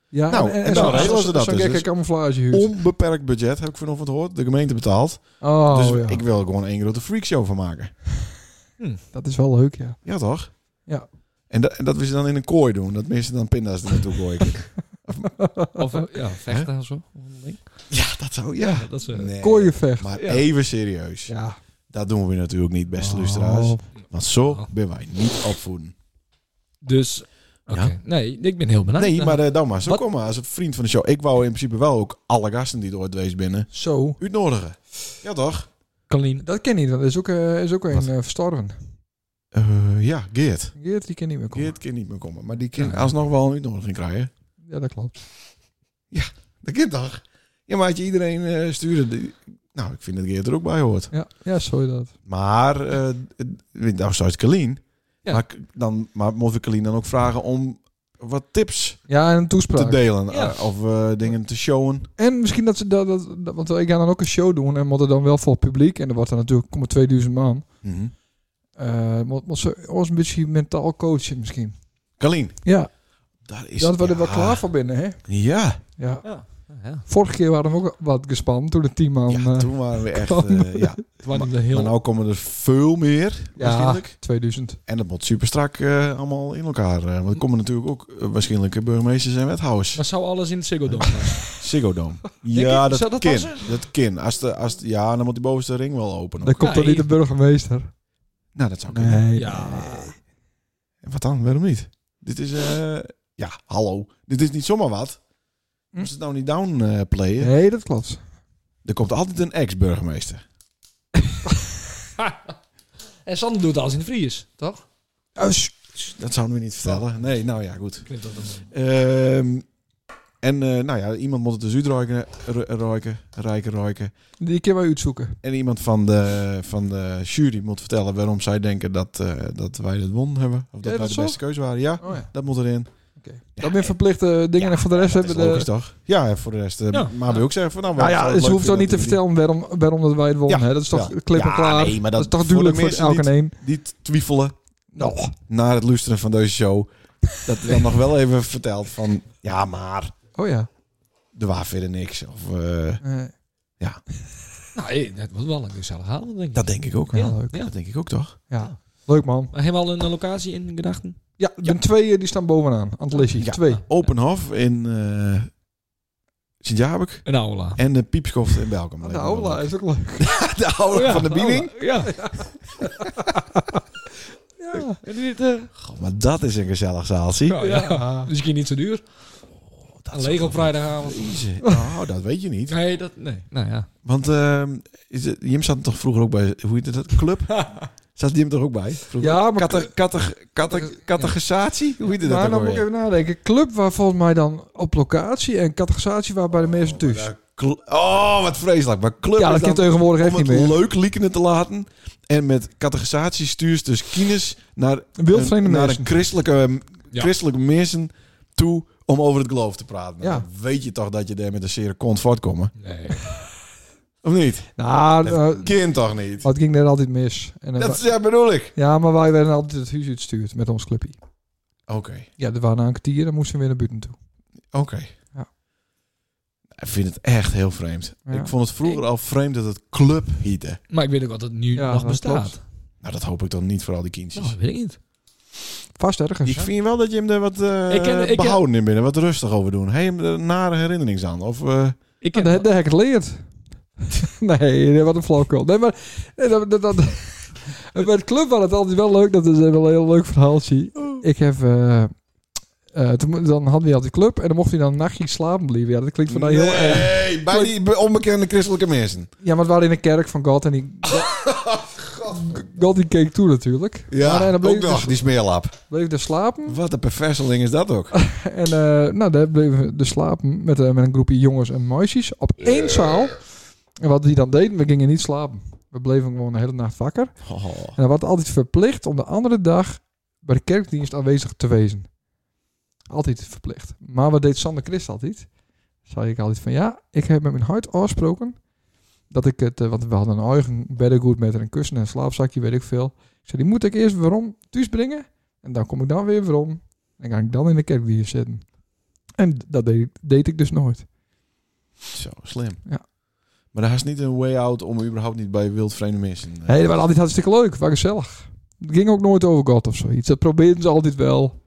ja
Nou, en dan
zo'n-
regelen ze dat
Zo'n
dus.
gekke camouflagehuis.
Onbeperkt budget, heb ik vanochtend gehoord. De gemeente betaalt.
Oh,
dus
ja.
ik wil er gewoon één grote freakshow van maken.
Dat is wel leuk, ja.
Ja, toch?
Ja.
En, dat- en dat we ze dan in een kooi doen. Dat mensen dan pinda's er naartoe gooien.
[LAUGHS]
Of eh, ja, vechten of zo.
ja, dat zou... Ja.
Dat is, eh,
Nee.
Kooienvecht.
Maar
Ja.
even serieus.
Ja.
Dat doen we natuurlijk niet, beste
Oh.
luisteraars. Want zo
Oh.
ben wij niet opvoeden.
Dus, oké.
Ja.
Nee, ik ben heel benieuwd.
Nee, maar eh, dan maar. Zo
Wat?
kom maar. Als een vriend van de show. Ik wou in principe wel ook alle gasten die er ooit geweest binnen
Zo.
uitnodigen. Ja, toch?
Colleen.
Dat ken niet, want er is ook, eh, is ook een
Wat?
eh, verstorven.
Eh, ja, Geert.
Geert, die kan niet meer komen.
Geert kan niet meer komen. Maar die kan
Ja.
alsnog wel een uitnodiging krijgen.
Ja, dat klopt.
Dat kind toch? Ja, maar had je iedereen eh sturen... die- Nou, ik vind dat Geert er ook bij hoort.
Ja, ja zo is dat.
Maar, eh nou, zoals Kalien.
Ja.
Maar, k- dan, maar moeten we Kalien dan ook vragen om wat tips
Ja, en een
te
toespraak.
delen?
Ja.
Eh, of eh, dingen te showen?
en misschien dat ze dat, dat, dat- Want ik ga dan ook een show doen en moet er dan wel voor het publiek. En er wordt dan natuurlijk komen 2000 man.
Mhm.
Eh moet, moet ze ons een beetje mentaal coachen misschien.
Kalien.
Ja,
Dat is...
dat we er wel
ja.
klaar voor binnen, hè?
Ja.
Ja.
Ja. Ja.
Vorige keer waren we ook wat gespannen toen het team aan...
ja,
eh,
toen waren
[LAUGHS]
we echt...
Kalien.
eh, ja.
Het waren er heel...
Maar nou komen er veel meer,
Ja.
waarschijnlijk.
2000.
En dat moet super strak eh, allemaal in elkaar. eh, want er komen natuurlijk ook eh, waarschijnlijk burgemeesters en wethouders.
[LAUGHS] Maar zou alles in het Ziggo Dome zijn?
Ziggo Dome.
Denk
Ja,
je,
dat,
zou dat
kin.
passen?
Dat kin. Als de, als de- ja, dan moet die bovenste ring wel open.
Dan komt
Ja,
dan niet de
even.
burgemeester.
Nou, dat zou kunnen.
Nee.
Ja.
En Wat dan? Waarom niet? Dit is... eh, ja, hallo. Dit is niet zomaar wat.
Hm?
Als het nou niet downplayen.
Nee, dat klopt.
Er komt altijd een ex-burgemeester.
En Sander doet alles in de Vries, toch?
Uis.
Dat zouden we niet vertellen. Nee, nou ja, goed.
Ik weet dat dat-
Ehm, en eh, nou ja, iemand moet het dus uitreiken, ru- ruiken, rijken, ruiken.
Die kunnen wij uitzoeken.
En iemand van de, van de jury moet vertellen waarom zij denken dat, eh, dat wij dat won hebben. Of dat
dat
wij de
zo?
beste keuze waren. Ja,
Oh ja.
dat moet erin.
Oké. Dat ben verplichte dingen en voor de rest
Dat is
hebben we
logisch,
de...
toch? Ja, en voor de rest. eh,
Ja.
Maar we ook zeggen van nou...
Nou
we
ja,
zouden het
dus je
leuk
hoeft ook niet te
vinden dat
vertellen waarom, waarom dat wij het wonnen.
Ja,
hè? Dat is toch
ja.
klip en
Ja,
klaar.
nee, maar
dat
dat
is toch
voor de
duidelijk voor,
mensen
elke
die-
een.
Die die twijfelen
Nou,
naar het luisteren van deze
[LAUGHS]
show. Dat dan nog wel even vertelt van... Ja, maar...
oh ja.
Er was verder niks. Of, eh,
Eh,
Nou, eh, dat was wel een gezellig avond, denk ik.
dat denk ik ook.
ja,
wel leuk.
Ja.
Dat denk ik ook, toch?
ja, leuk man.
Maar helemaal een locatie in gedachten?
Ja, de twee eh, die staan bovenaan. Aan het lijstje.
Ja.
Twee.
Openhof in eh Sint-Jabek.
Een aula.
En de Piepskoft in Belkom.
Nou,
[LAUGHS]
Ola is ook leuk.
De oude van de bieding.
Oh Ja.
Ja.
En dit, eh,
Goh, maar dat is een gezellig zaaltje. Oh,
ja, oh ja.
Oh, Ja.
Misschien niet zo duur. Een leeg op
[LAUGHS]
vrijdagavond.
Jezus. Nou, dat weet je niet.
Nee, dat... Nee. Nou ja.
Want ehm, is het, Jim zat toch vroeger ook bij, hoe heet dat, club?
[LAUGHS]
zat Jim er ook bij? Vroeger?
Ja, maar
Katte- katte- katte- Catechisatie? Hoe heet dat
nou, Maar
ook
dan moet ik
alweer?
even nadenken. Club waar volgens mij dan op locatie en categorisatie waar bij de mensen thuis.
Ja, cl- Oh, wat vreselijk. Maar club
ja,
is
dat kan
dan
tegenwoordig echt
om het
niet meer.
leuk liekende te laten. En met categorisatie stuurt dus kines naar,
Wildvreemde
een, naar
mensen.
een christelijke,
Ja.
christelijke mensen toe om over het geloof te praten. Nou,
Ja.
dan weet je toch dat je daar met een serie kont voortkomt?
Nee.
Of niet?
Nou, eh,
Kind toch niet?
maar het ging net altijd mis. En dan-
Dat is, ja, bedoel ik.
Ja, maar wij werden altijd het huis uitgestuurd met ons clubje.
Oké,
Ja, er waren een kwartier, dan moesten we weer naar buiten toe.
oké.
Ja.
Ik vind het echt heel vreemd.
Ja.
Ik vond het vroeger al vreemd dat het club heette.
Maar ik weet ook wat het nu
Ja,
nog
dat
bestaat.
klopt.
Nou, dat hoop ik dan niet voor al die kindjes.
Oh,
Nou, weet ik niet.
Vast ergens.
Ik vind wel dat je hem er wat eh
Ik ken- ik ken-
behouden in binnen, wat rustig over doen. Hij hem er nare herinnerings aan. Of, eh,
Ik
Ja,
ken,
daar, daar heb ik het
[LAUGHS]
leerd. nee, wat een flauwkul. Nee, maar nee, dat, dat, [LAUGHS] dat, bij het club was het altijd wel leuk. Dat is wel een heel leuk verhaaltje. Ik heb... eh, eh, toen, mo- dan hadden we altijd club en dan mocht hij dan een nachtje slapen blijven. Ja, dat klinkt van nou, eh, mij heel erg.
nee, bij die be- onbekende christelijke mensen.
Ja, maar het waren in de kerk van God
[LAUGHS]
en die... God die keek toe natuurlijk.
Ja,
Maar, eh, dan bleef
ook
ik
nog,
dus-
die smeerlap.
Bleef ik daar slapen.
Wat een perverseling is dat
[LAUGHS]
ook.
En eh, nou, daar bleven we dus slapen met, eh, met een groepje jongens en meisjes op één zaal. En wat die dan deden, we gingen niet slapen. We bleven gewoon de hele nacht wakker.
Oh.
En dan werd altijd verplicht om de andere dag bij de kerkdienst aanwezig te wezen. Altijd verplicht. Maar wat deed Sander Christ altijd? Zei ik altijd van ja, ik heb met mijn hart afgesproken dat ik het, eh, want we hadden een eigen beddengoed met een kussen en een slaapzakje, weet ik veel. Ik zei, die moet ik eerst weer om thuis brengen en dan kom ik dan weer weer om. En ga ik dan in de kerkdienst zitten. En dat deed, deed ik dus nooit.
Zo, slim.
Ja.
Maar daar is niet een way out om überhaupt niet bij wildvreemde mensen. eh,
Hé, dat was altijd hartstikke leuk, was gezellig. Het ging ook nooit over God of zoiets. Dat probeerden ze altijd wel.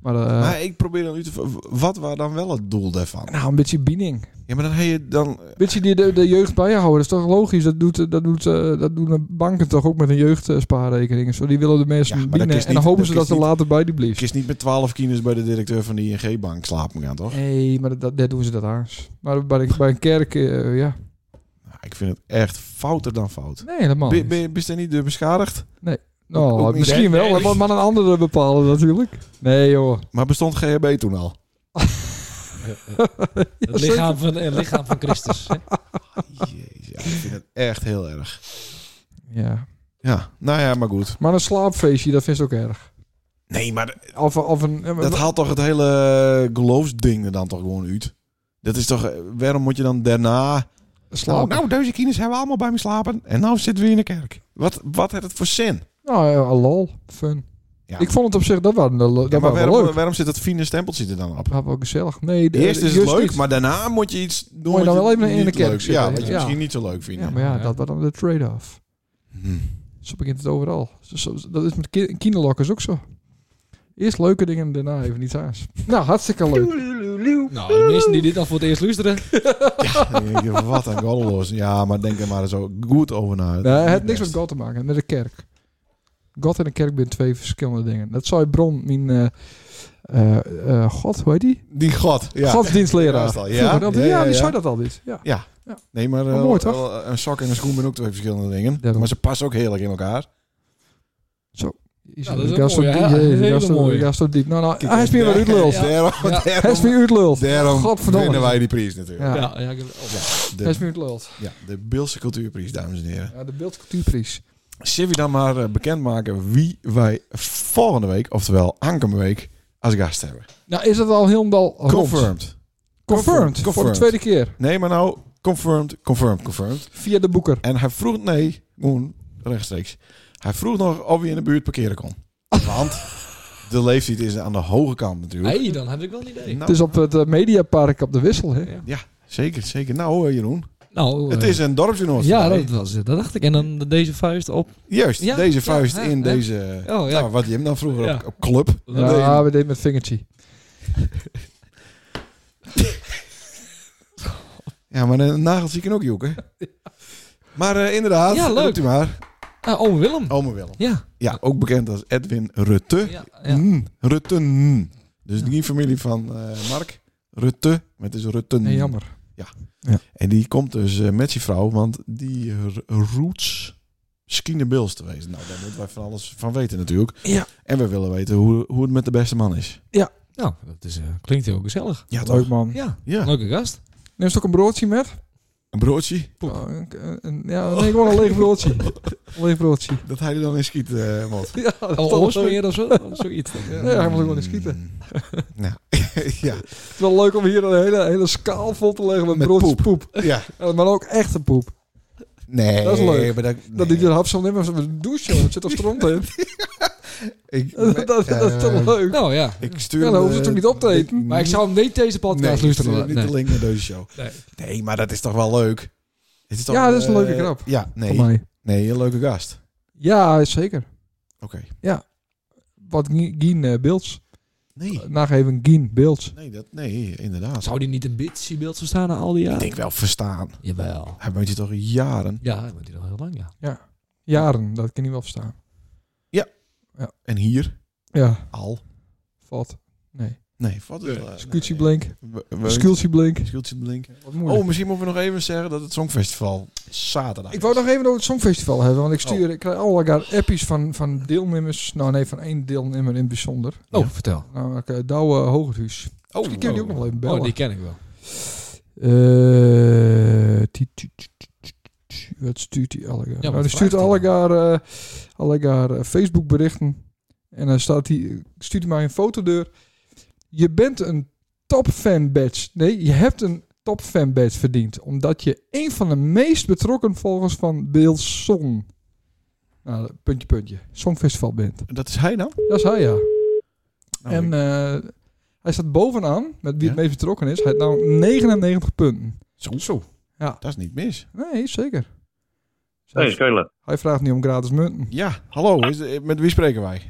Maar, eh,
maar ik probeer dan nu te... v- Wat was dan wel het doel daarvan?
Nou, een beetje binding.
Ja, maar dan heb je dan... eh,
Een beetje die de, de jeugd bijhouden. Dat is toch logisch? Dat, doet, eh, dat, doet, eh, dat doen de banken toch ook met een jeugdspaarrekening. en Zo, die willen de mensen
Ja, maar dat
binnen.
is
en dan
niet-
hopen
dat
ze
is
dat ze
niet-
later bij
Ik
die blieft.
is niet met twaalf kines bij de directeur van de ING-bank slapen gaan, toch?
Nee, maar dat, dat, daar doen ze dat aans. Maar bij, de- bij een kerk, eh, ja.
Nou, ik vind het echt fouter dan fout.
Nee, helemaal
Ben
niet.
ben- ben je niet door beschadigd?
Nou,
ook niet.
misschien wel. Dat moet maar een andere bepalen natuurlijk. Nee, joh.
Maar bestond GHB toen [LAUGHS] al?
het, lichaam van, het lichaam van Christus. hè?
Jezus, ja, ik vind het echt heel erg.
Ja.
Ja, nou ja, maar goed.
Maar een slaapfeestje, dat vind ik ook erg.
Nee, maar
Of, of een... eh,
dat haalt toch het hele eh, geloofsding er dan toch gewoon uit? Dat is toch, eh, waarom moet je dan daarna...
slaap.
Nou, nou, deze kinderen hebben we allemaal bij me slapen. En nou zitten we in de kerk. Wat, wat heeft het voor zin?
Nou, ja, lol. Fun.
Ja.
Ik vond het op zich, dat waren de, dat
Ja, maar
waren wel
waarom,
leuk.
waarom zit dat fine stempeltje er dan op?
Dat was wel gezellig. Nee, de-
Eerst is het
juist
leuk,
Ah, niet.
maar daarna moet je iets doen
Moet je
wat
dan wel even in de
niet
kerk
leuk-
zitten,
Ja, wat je
ja.
misschien niet zo leuk vindt.
Ja, maar ja,
Ja.
dat was dan de trade-off.
Hm.
Zo begint het overal. Zo- zo- Dat is met ki- kinderlokkers ook zo. Eerst leuke dingen en daarna even iets aans. [LAUGHS] Nou, hartstikke leuk.
Nou, de mensen die dit al voor het eerst luisteren.
Dan denk je, wat een goddeloos. Ja, maar denk er maar zo goed over na.
Nee, het heeft niks met God te maken, met de kerk. God en de kerk zijn twee verschillende dingen. Dat zou je bron, mijn eh, eh, eh, God, hoe heet die?
Die God, ja. Ja,
Godsdienstleraar.
is dat- ja?
Vroeger altijd-
Ja,
ja,
ja,
die
ja.
zei dat altijd. Ja.
Nee, maar,
Maar
eh,
Oh, mooi, toch?
wel, een sok en een schoen zijn ook twee verschillende dingen.
Daarom.
Maar ze passen ook heerlijk in elkaar.
Jezus,
dat is
ik
ook
was zo
mooi,
diep.
hè?
Jezus,
Hele
ik was zo-
mooie.
ik was zo diep. Nou, nou, hij is weer wat
[LAUGHS]
uitlul.
Ja.
Daarom,
Ja.
Hij is
daarom,
weer uitlul.
daarom
Godverdomme.
winnen wij die prijs natuurlijk.
Ja.
Ja, ja, ik heb- oh, ja.
Hij is
De,
weer uitlul.
ja, de Beelse Cultuurprijs, dames en heren.
Ja, de beeldcultuurprijs.
Zullen we dan maar eh, bekendmaken wie wij volgende week, oftewel aankomende week, als gast hebben.
Nou, is dat al helemaal rond?
Confirmed.
Confirmed. Voor de
Confirmed.
tweede keer.
Nee, maar nou, confirmed, confirmed, confirmed.
Via de boeker.
En hij vroeg, nee, gewoon rechtstreeks. Hij vroeg nog of hij in de buurt parkeren kon. Want de leeftijd is aan de hoge kant natuurlijk.
hey, dan heb ik wel een idee.
Nou,
Het is op het eh, Mediapark op de Wissel, hè?
Zeker, zeker. Nou, eh, Jeroen.
Nou,
Het
eh,
is een dorpsgenoot.
Ja, dat was het. Dat dacht ik. En dan deze vuist op.
Juist,
Ja,
deze
ja,
vuist
ja,
in
ja.
deze...
Oh
Nou, wat je hem dan vroeger
Ja.
op, op club.
Ja, we deden met vingertje.
Ja, maar een nageltje kan ook
[LAUGHS]
joeken. Maar eh, inderdaad,
Ja, leuk.
roept u maar.
Ah, oh, Willem.
Ome Willem.
Ja.
Ja, ook bekend als Edwin Rutte.
Ja, ja.
Mm, Rutte. mm. Dus die familie van eh, Mark. Rutte. Maar het is Rutte.
Nee, jammer.
En die komt dus eh, met zijn vrouw, want die r- roots Skine Bills te wezen. Nou, daar moeten wij van alles van weten natuurlijk.
Ja.
En we willen weten hoe, hoe het met de beste man is.
Nou, dat is, eh, klinkt heel gezellig.
Ja, toch?
Leuk man.
Ja.
Ja.
Leuke gast.
Neem ze ook een broodje met?
Een broodje.
Oh, een- een- ja, nee, gewoon een leeg [LAUGHS] broodje. Een leeg broodje.
Dat hij er dan in schiet, eh Mot.
Ja, dat
Al oorsprong of zo. of Zoiets.
Ja, hij moet ook wel eens schieten.
Nou, [LAUGHS] ja.
Het is wel leuk om hier een hele, hele schaal vol te leggen met,
Met
broodjes
poep.
poep.
ja.
Ja, Maar ook echte poep.
Nee.
[LAUGHS] Dat is leuk.
Maar dat,
Dat die
nee.
er hap zo nemen, we douchen, jongen. het zit al stront [LAUGHS] in.
ik,
[LAUGHS] dat, dat, dat is
eh,
toch leuk.
Nou ja.
Ik stuur
ja, dan
hem,
hoeven ze
eh,
toch niet op te eten.
Maar ik zou hem niet deze
Nee,
podcast
ik
luisteren.
stuur
hoor.
niet
Nee.
de link naar deze show.
Nee.
Nee, maar dat is toch wel leuk? Het is toch,
Ja, dat is een
eh,
leuke grap.
Ja,
Voor
nee.
mij.
Nee, een leuke gast.
Ja, zeker.
Oké.
Wat Gien- Gien eh, Beelds.
Nee.
Naag even Gien Beelds.
Nee, dat, nee, inderdaad.
Zou die niet een bitchy beeld verstaan na al die
Ik
jaren?
denk wel verstaan.
Jawel.
Hij woont hier toch jaren.
Ja, dat wordt hij al heel lang, ja.
Jaren, dat kan ik wel verstaan.
En hier
Ja,
al.
vat. Nee.
Nee, wat eh, is dat?
Scootieblink.
Scoot.
Scultieblink.
Scootieblink.
Wat
Oh,
moeilijk.
misschien moeten we nog even zeggen dat het Songfestival zaterdag
ik wou
is.
nog even over het Songfestival hebben, want ik stuur, ik krijg allerlei appies van, van deelnemers. Nou nee, van één deelnemer in het bijzonder.
Oh, vertel.
Namelijk eh, Douwe Hogerhuis.
Oh,
Ik kan die ook nog wel even bellen.
Oh, die ken ik wel.
Eh, ti- ti- ti- ti- ti- ti- Wat stuurt hij Allegaar? nou,
wat
die
vraagt
stuurt
hij dan?
Allegaar, eh Allegaar eh, Facebook berichten. En dan staat hij, stuurt hij mij een fotodeur. Je bent een top fan badge. Nee, je hebt een top fan badge verdiend. Omdat je een van de meest betrokken volgers van Bill Song. Nou, puntje, puntje. Songfestival bent.
Dat is hij dan?
Dat is hij, ja.
Nou,
en
ik-
eh, hij staat bovenaan met wie het
Ja?
meest betrokken is. Hij heeft nou 99 punten.
zo, zo.
Ja.
Dat is niet mis.
Nee, zeker.
Hey, Schelen.
Hij vraagt niet om gratis munten.
Ja, hallo. Is, met wie spreken wij?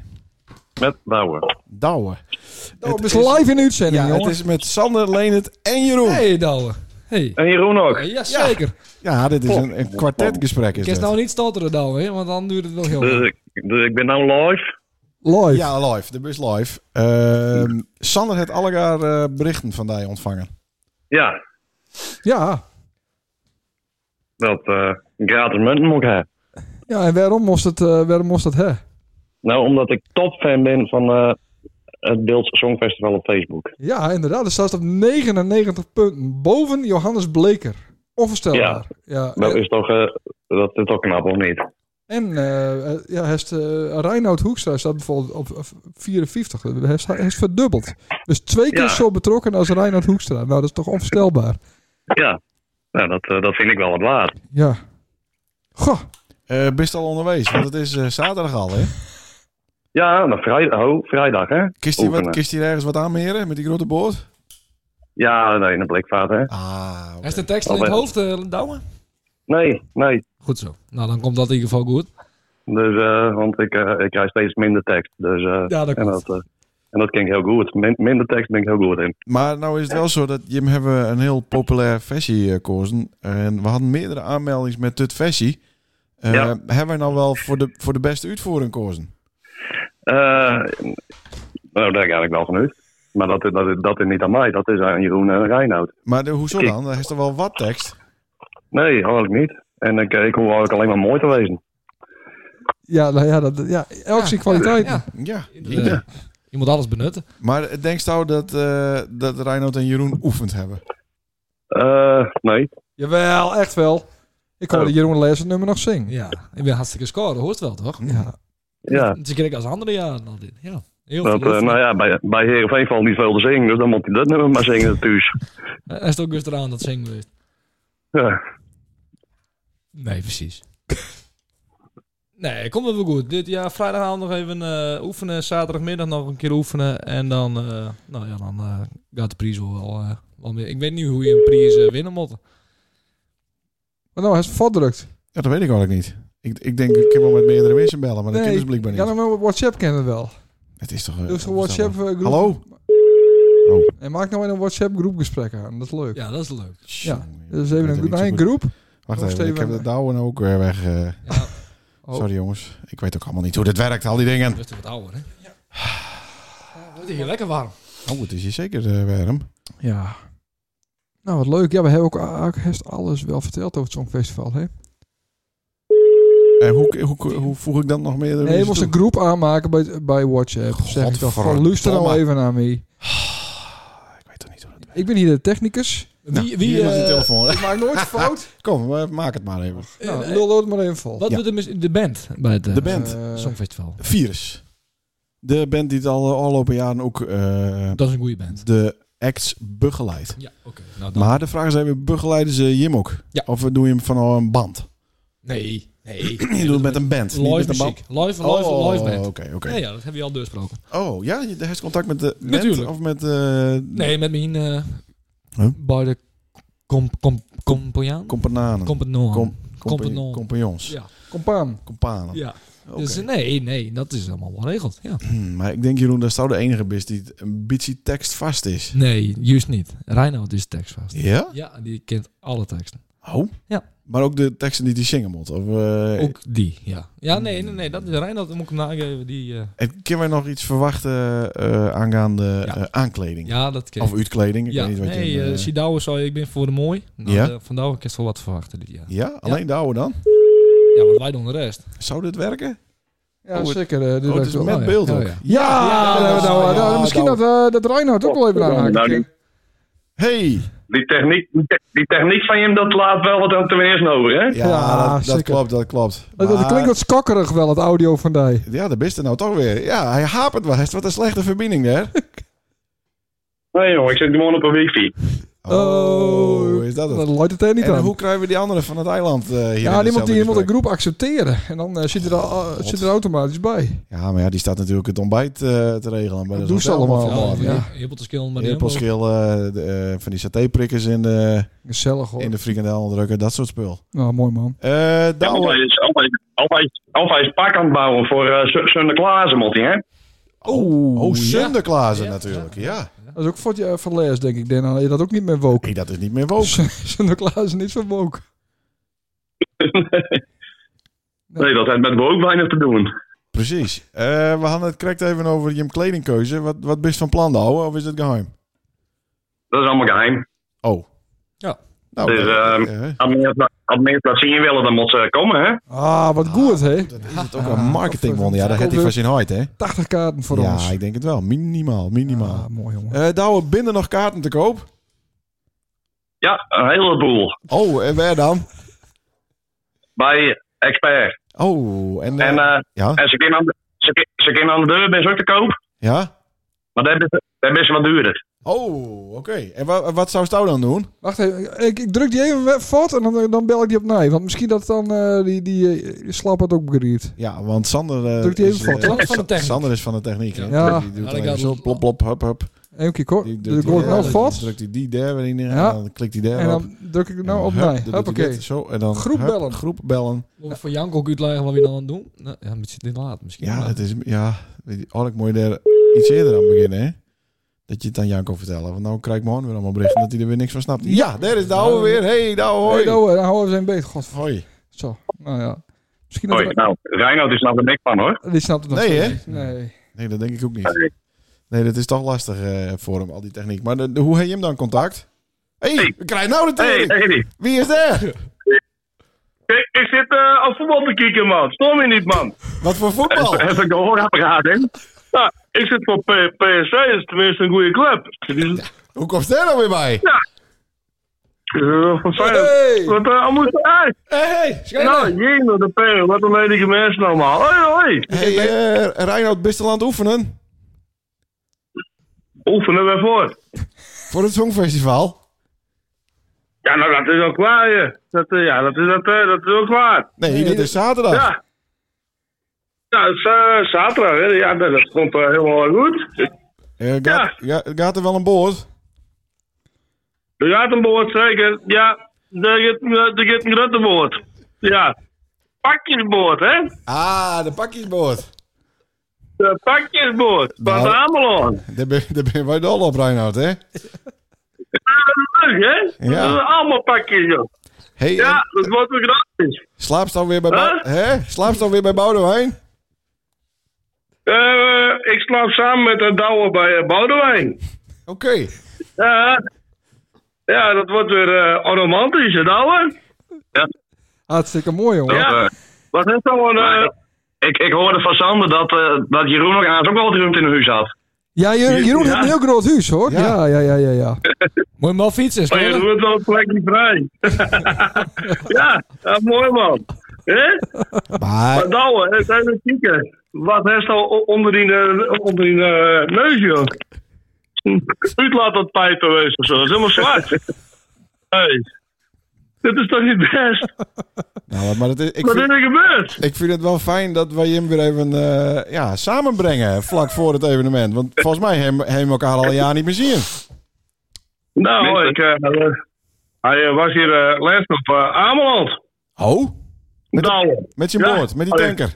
Met Douwe.
Douwe.
Nou, het is
is-
live in de uitzending,
Ja, het
jongen.
is met Sander, Leenert en Jeroen.
Hey, Douwe. Hey.
En Jeroen ook.
Ja, zeker.
Oh. Ja, dit is een, een kwartetgesprek. Is
Ik kan
dit.
nou niet stotteren, Douwe, hè, want dan duurt het wel heel
Dus
lang.
ik, dus ik ben nou live.
Live.
Ja, live. De bus live. Ehm, Sander heeft allegaar eh, berichten van die ontvangen.
Ja,
Ja.
dat eh, gratis munten moet ik hebben.
Ja, en waarom moest het, eh, waarom moest dat hè?
Nou, omdat ik topfan ben van eh, het Beeldse Songfestival op Facebook.
Ja, inderdaad. Er staat op 99 punten. Boven Johannes Bleker. Onvoorstelbaar. Ja.
Dat is toch, eh, dat is toch knap, of niet?
En eh, eh, ja, hij is, eh, Reinoud Hoekstra staat bijvoorbeeld op eh, 54. Hij is, hij is verdubbeld. Dus twee keer
Ja.
zo betrokken als Reinoud Hoekstra. Nou, dat is toch onvoorstelbaar.
Ja, nou, dat, eh, dat vind ik wel wat waard.
Ja. Goh.
Eh best al onderwees, want het is eh, zaterdag al, hè?
Ja, maar vrijdag, oh, vrijdag hè?
Kist hij wat-
Oefenen.
kist hij ergens wat aanmeren met die grote boot?
Ja, nee, een blikvaart hè?
Ah, oké.
Hij is de tekst al in het hoofd, eh Douwe?
Nee, nee.
Goed zo. Nou, dan komt dat in ieder geval goed.
Dus, eh, want ik, eh, ik krijg steeds minder tekst. Dus, eh,
Ja, dat
en,
klopt.
dat, eh, en dat ken ik heel goed. Min- minder tekst ben ik heel goed in.
Maar nou is het wel zo dat Jim hebben een heel populair versie gekozen. en we hadden meerdere aanmeldingen met dit versie. Eh,
Ja.
Hebben wij nou wel voor de, voor de beste uitvoering gekozen?
Eh, nou, daar ga ik wel van uit. Maar dat, dat, dat is niet aan mij, dat is aan Jeroen en Reinoud.
Maar de, hoezo
Ik-
dan? Er is toch wel wat tekst?
Nee, eigenlijk niet. En ik, ik hoef eigenlijk alleen maar mooi te wezen.
Ja, nou ja, dat, ja elk zijn kwaliteit.
Ja,
Ja.
ja. Eh, je moet alles benutten.
Maar denk je nou dat, eh dat Reinoud en Jeroen oefend hebben?
Eh, nee.
Jawel, echt wel. Ik hoorde
Oh.
Jeroen Lezer nummer nog zingen.
Ja, ik ben hartstikke scoren, hoort wel toch?
Ja.
Ja,
Ze kreeg als andere jaren al dit. Ja. Heel
Want, eh,
veel.
nou ja, bij, bij Heerenveen valt niet veel te zingen, dus dan moet hij dat nummer maar zingen thuis.
Hij is het ook rustig aan dat zingen geweest.
Ja.
Nee, precies. nee, komt het wel goed. Dit, ja, vrijdagavond nog even eh, oefenen. Zaterdagmiddag nog een keer oefenen. En dan, eh, nou ja, dan eh, gaat de prijs wel, wel, eh, wel meer. Ik weet niet hoe je een prijs eh, winnen moet.
Maar nou, hij is verdrukt.
Ja, dat weet ik eigenlijk niet. Ik, ik denk, ik kan wel met meerdere mensen bellen, maar dat
Nee,
kan dus blijkbaar niet.
Ja, dan op WhatsApp kennen we wel.
Het is toch... eh,
Dus een
onvoorstelbaar.
WhatsApp eh, groep.
Hallo? Oh.
En maak nou in een WhatsApp groep gesprek aan. Dat is leuk.
Ja, dat is leuk.
Ja.
Tjonge,
Dus
ik
even
weet
een,
het
groep-
niet zo
nee, een
goed.
groep.
Wacht
Nog
even, ik
Steven.
heb de douwen ook weer weg. eh.
Ja,
Oh.
Sorry jongens, ik weet ook allemaal niet hoe dit werkt, al die dingen.
dat is wat ouder, hè? Ja. Wordt hier lekker warm.
Oh, het is hier zeker eh, warm.
Ja. Nou, wat leuk. Ja, we hebben ook, ook heeft alles wel verteld over het Songfestival, hè?
En hoe, hoe, hoe voeg ik dan nog meerdere
Nee, je
mensen
moest
toe?
een groep aanmaken bij, bij WhatsApp. Zeg ik toch. Van,
Godverdomme.
luister nou even naar mij.
Ah, Ik weet toch niet hoe dat werkt.
Ik ben hier de technicus.
Wie, wie,
Hier is die
eh,
telefoon.
Ik maak
[LAUGHS]
nooit fout.
Kom, eh, maak het maar even.
nou,
eh,
lul het maar even vol.
wat
Ja.
doet de, mis- de band bij het eh,
De band.
Eh,
Songfestival?
Virus. De band die het al eh, afgelopen jaren ook eh,
Dat is een goede band.
de acts begeleidt.
Ja, oké. Nou, dan.
Maar de vraag is even, begeleiden ze Jim ook?
Ja.
Of doe je hem van een band?
Nee, nee.
Je doet [COUGHS] het met een band, niet
live
met een band.
muziek. Live, live,
oh,
live band.
oké, oké.
Ja, ja, dat hebben we al doorsproken.
Oh, ja, je heeft contact met de band
Natuurlijk.
of met eh
Nee, met mijn eh
Huh?
bij de com, com, compagnon.
companen,
Compagnon.
Com-
compagnon.
compagnons,
Ja.
Compaan.
companen.
ja.
Oké.
Dus eh, nee, nee, dat is allemaal wel regeld. Ja.
Hmm, maar ik denk, Jeroen, dat is nou de enige bist die het een beetje tekstvast is.
Nee, juist niet. Reinoud is tekstvast.
Ja?
Ja, die kent alle teksten.
Oh?
Ja.
Maar ook de teksten die die zingen moet. Of, eh,
Ook die, ja. Ja, nee, nee, nee, dat is Reinoud. Moet ik hem nageven. Die, eh,
en Kunnen wij nog iets verwachten eh aangaande
Ja.
eh, aankleding?
ja, dat kent
Of uitkleding? Ik
Ja,
weet niet wat
nee,
je...
eh,
eh,
Sidouwe zei ik ben voor de mooi. Nou,
Ja?
de- van Douwe kan je wel wat verwachten dit jaar.
ja, alleen de oude dan?
Ja, want wij doen de rest.
Zou dit werken?
Ja,
Oh, het-
zeker. eh, dus
Oh,
dat
het
ik
is
wel-
met
ja.
beeld
Ja,
ook.
ja.
Ja,
Ja,
daar hebben we nou,
ja,
nou,
ja,
misschien
nou.
dat, eh dat Reinhard ook wel even aan haakt.
Nou, die-
Hey!
Die techniek, die techniek van hem, dat laat wel wat aan ten eerste over, hè?
Ja,
Ja,
dat, dat
zeker. Oh,
klopt, dat klopt.
Dat, dat
Maar-
klinkt wat skokkerig wel, het audio van die.
Ja, de beste nou toch weer. Ja, hij hapert wel. Hij heeft wat een slechte verbinding
[LAUGHS]
daar.
Nee, jongen, ik zit gewoon op een wifi.
Oh, is dat het?
Dan loopt het er niet
En
aan.
hoe krijgen we die anderen van het eiland eh hier?
Ja,
in
die moet, die
hetzelfde
moet een
gesprek?
groep accepteren. En dan eh, zit, er al, eh, zit er automatisch bij.
Ja, maar ja, die staat natuurlijk het ontbijt eh, te regelen. Bij
Dat
dat
doen ze
hotel
allemaal.
van morgen.
ja.
Ja, heel te skillen, maar die hebben ook-
Appelschil, eh, de, eh, van die satéprikkers in de,
Gezellig hoor.
in de frikandel drukken, dat soort spul.
Nou, mooi man.
Eh
Ja, want hij
Douwe.
is, altijd, altijd, altijd pak aan het bouwen voor eh, Z- Sinterklaas, moet hij, hè? [LAUGHS]
Oeh,
Oh, Sinterklaasen
Ja.
natuurlijk, ja.
Dat is ook voor, je van Les, denk ik. Dan had je dat ook niet meer woke.
Hey, dat is niet meer woke.
Sinterklaas is niet van woke.
Nee, dat heeft met me ook weinig te doen.
Precies. Eh, we hadden het correct even over je kledingkeuze. Wat, wat ben je van plan, Douwe, of is het geheim?
Dat is allemaal geheim.
Oh.
Ja.
Nou,
Dus,
eh,
ehm,
eh,
Als mensen- Als mensen dat zien willen, dan moeten ze komen, hè?
Ah, wat goed hè.
dat is het ook een marketingwonder. Ja, dat heeft hij van zijn hart, hè?
80 kaarten voor
ja,
ons.
ik denk het wel. Minimaal, minimaal.
Ah, mooi jongen.
Eh Douwe, binnen nog kaarten te koop?
Ja, een heleboel.
Oh, en waar dan?
Bij Expert.
Oh, en... eh,
En, eh,
ja?
en ze kunnen aan de, ze, kunnen- ze kunnen aan de deur, ben ze ook te koop.
ja?
Maar daar ben ze- daar ben ze wat duurder.
Oh, oké. En wa- wat zou Stouw dan doen?
Wacht even, ik, ik druk die even we- vast en dan, dan bel ik die op nee. Want misschien dat dan eh, die, die eh, slap het ook begrijpt.
Ja, want Sander... eh,
Druk die even
is,
voor.
eh,
Sander van de techniek.
Sander is van de techniek, hè?
Ja.
Dus Die doet
Ja,
dan
dat
even
gaat-
zo, plop, plop, hup, hup.
Eén keer kort.
Die
Dus ik
drukt
hoor
die
ik
daar,
nou
dan
vast.
drukt hij die daar weer in en
Ja.
dan klikt hij daar
En
op.
dan druk ik nou op
hup,
nee.
dan doet hij
Hoppakee.
dit zo, en dan,
Groep
hup,
bellen.
Groep bellen.
Moet ik voor Jank ook uitleggen wat we dan aan het doen? Nou, ja, een beetje dit laat misschien.
Ja,
maar-
het is... Ja, weet je, eigenlijk moet je daar iets eerder aan beginnen, hè? Dat je het aan Janko vertellen. Want nou krijg ik morgen weer allemaal berichten dat hij er weer niks van snapt. Ja, daar is Douwe weer. Hey, Douwe, hoi.
Hey, nou, dan houden we zijn beet. God,
Hoi.
zo. Nou ja. Misschien dat
Hoi, nou, Reinoud is nog er niks van, hoor.
Die snapt het nog
Nee, hè?
steeds niet. Nee.
Nee, dat denk ik ook niet. Nee, dat is toch lastig eh, voor hem, al die techniek. Maar de- de- hoe heb je hem dan contact? Hé, hey,
Hey.
we krijgen nou de
Hé,
tering.
hey,
Wie is daar?
Ik, ik zit eh aan voetbal te kijken, man. Stom je niet, man.
Wat voor voetbal?
[LAUGHS] Heb heb ik de hoorapparaat, hè? Ja, ik zit voor P- PSV, dat is tenminste een goede club. Die is-
Hoe komt daar nou weer bij?
eh, Van Feyenoord. Wat eh, allemaal zo uit.
Hé, hey,
Nou, jemig, de P, wat een ledige mensen allemaal. Hoi, hoi.
hey, eh, Reinoud, bist al aan het oefenen?
Oefenen we voor.
Voor het Songfestival?
Ja, nou dat is ook waar, je. Dat, eh, ja, dat is, dat, eh, dat is ook waar.
Nee, dat is zaterdag.
Ja. Ja, het is, eh, zaterdag, hè. Ja, dat, dat komt eh, helemaal goed.
Eh, gaat, ga- gaat er wel een boord?
Er gaat een boord, zeker. Ja, er gaat, er gaat een grote boord. Ja. Pakjesboord, hè?
Ah, de pakjesboord.
De pakjesboord. Van
Nou.
Ameland.
Daar ben, daar ben wij dol op, Reinhard, hè?
Ja, dat is leuk, hè?
Ja.
Dat zijn allemaal pakjes, joh.
Hey,
Ja,
en
dat wordt weer gratis.
slaapst dan weer bij,
Huh?
Bou- hè? Slaapst dan weer bij Boudewijn?
Eh, ik slaap samen met een douwe bij eh, Boudewijn.
Oké.
Ja. ja, dat wordt weer eh romantisch, hè, douwe?
Hartstikke mooi, jongen.
Ja. Wat is nou een... eh,
eh, Ik, ik hoorde van Sander dat, eh, dat Jeroen ook aan ook wel wat ruimte in huis had.
Ja, Jeroen, Jeroen heeft een heel groot huis, hoor.
Ja.
Ja, ja, ja, ja. ja.
Moet je maar fietsen,
Oh, je
Sander?
doet wel een plekje vrij. [LAUGHS] ja, dat is mooi man. Hè?
Maar
Maar nou, hè, zijn we kieken. Wat heeft al o- onder die, eh, onder die eh, neus, joh? U laat dat pijpen wezen of zo. Dat is helemaal zwart.
[LAUGHS]
hey. Dit is toch niet best?
Nou, maar het is, ik,
Wat is
vind,
er gebeurd?
ik vind het wel fijn dat wij hem weer even eh, ja, samenbrengen vlak voor het evenement. Want volgens mij hebben hebben we elkaar al een jaar niet meer zien.
Nou, ik, eh, eh, hij eh, was hier eh, laatst op eh, Ameland.
Oh?
Nou,
Met zijn
Ja.
boord, met die
Oh, ja.
tanker.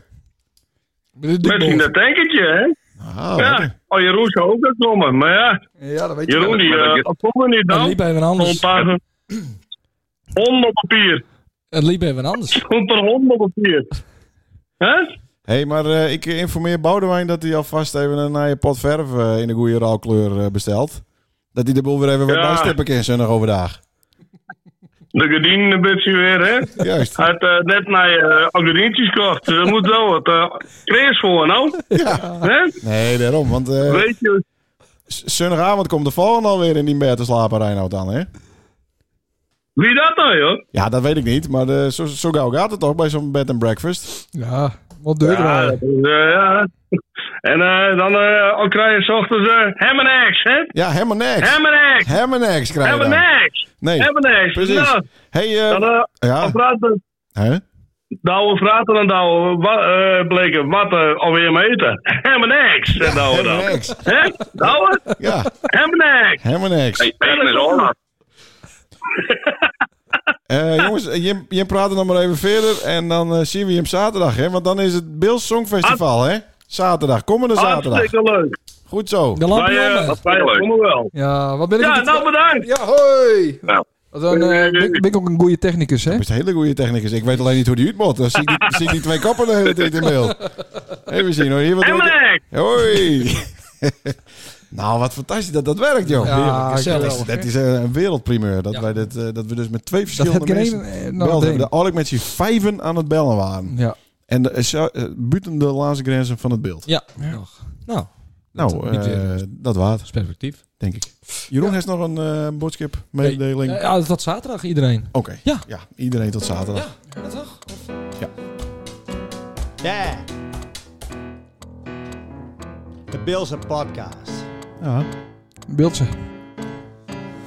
Met
met dat tankertje, hè?
Ah,
Ja.
lekker.
Oh, Jeroen zou ook wel komen. Maar ja,
Ja, dat weet je
Jeroen,
wel.
die
maar dat-
eh, dat kon er niet
Het
dan.
liep even
Zo'n
anders.
paar honderd papier.
Het liep even anders.
Zo'n paar honderd papier. Hè?
hey, maar eh, ik informeer Boudewijn dat hij alvast even een naaie pot verf eh, in de goede rauwkleur eh, bestelt. Dat hij de boel weer even wat
Ja.
bijstippen kan zonnig overdag.
De gardine een beetje weer, hè?
Juist.
Hij had eh, net naar eh gardintjes gekocht. Dus dat moet wel wat eh kreeg voor, nou.
Ja.
Hè?
Nee, daarom. Want eh
Weet je,
z- zondagavond komt de volgende alweer in die bed te slapen, Reinoud dan, hè?
wie dat dan, joh?
Ja, dat weet ik niet. Maar eh, zo, zo gauw gaat het toch bij zo'n bed and breakfast.
Ja, wat deur
Ja,
draaien.
dat is, eh, ja. En eh, dan eh, al krijg je 's ochtends eh ham and eggs, hè?
Ja, helemaal niks.
Ham and eggs!
Helemaal niks krijg je
Ham and
dan.
eggs!
Nee,
Ham and eggs!
precies.
Nou,
hey, eh,
dan eh, al
ja,
praten
hè?
Douwe vraten en Douwe wa- eh, bleken wat eh, alweer mee eten. Hem en niks, zei Douwe dan.
helemaal niks.
Hè? Douwe?
Ja,
Hem en niks.
helemaal niks.
Ik ben met Olaf.
Eh, jongens, eh, Jim, Jim praat er nog maar even verder. En dan eh, zien we Jim zaterdag, hè? Want dan is het Bills Songfestival, hè? Zaterdag, komende zaterdag.
Hartstikke leuk.
Goed zo.
De
Wij,
lampje
eh,
onder.
wij
Leuk.
komen wel.
Ja, wat ben ik...
Ja,
het-
nou bedankt.
Ja, hoi!
Nou.
Wat een, eh, ben, ik- ben ik ook een goede technicus, hè?
Dat is een hele goede technicus. Ik weet alleen niet hoe die uitmot. Dan zie ik die, zie ik die twee kappen de hele tijd in beeld. Even zien hoor. Hier wat
Hem en niks.
Hoi. [LAUGHS] nou, wat fantastisch dat dat werkt, joh.
Ja,
dat, is,
geweldig.
dat is eh, een wereldprimeur. Dat,
Ja.
wij dit, eh, dat we dus met twee
Dat heb
verschillende
ik in
mensen
één... eh,
belden.
nou, ding.
hebben. Dat ik met z'n vijven aan het bellen waren.
Ja.
En de, eh, zo- eh, buiten de laatste grenzen van het beeld.
Ja, nog. Nou,
nou,
niet
eh,
weer.
dat waard,
is perspectief.
denk ik. Jeroen heeft nog een eh boodschap,
Nee.
mededeling.
Eh, Ja, tot zaterdag iedereen.
Oké.
Ja.
Ja, iedereen tot zaterdag.
Ja, toch?
Yeah. De Bills and Podcast.
Ja.
Beeldje.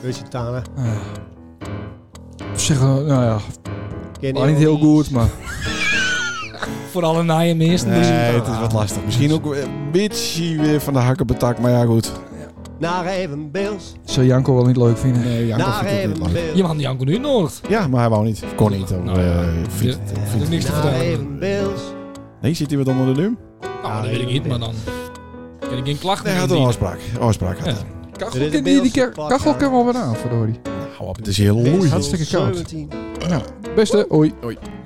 Lusitana.
Op zich, eh, nou ja,
Ken
maar niet heel goed, maar...
Voor alle naaien meesten.
Nee, het is wat lastig. Misschien ook een beetje weer van de hak op de tak, maar ja, goed.
Naar even Bills.
Zou Janko wel niet leuk vinden.
Nee, Jacob
Naar
vindt het niet
even
leuk.
Je
Bills.
mag die Janko nu nodig.
Nou, Ja, maar hij wou niet. Kon niet. Of,
Nou ja.
eh, vindt het-
Er is
vindt het-
niks te
Naar
vertellen.
even Bills.
Nee, zit hij wat onder de lum?
Nou, dat weet ik niet, maar dan... Kan ik geen klacht
Nee, hij had een
indienen.
afspraak. Afspraak had
Ja.
hij.
Dit is
Kachel
de
kan die, die
Beelse
ke- kachel kan wel weer aan, verdorie.
Hou op, het is heel
Bills
loei.
hartstikke koud.
17.
Beste, oei.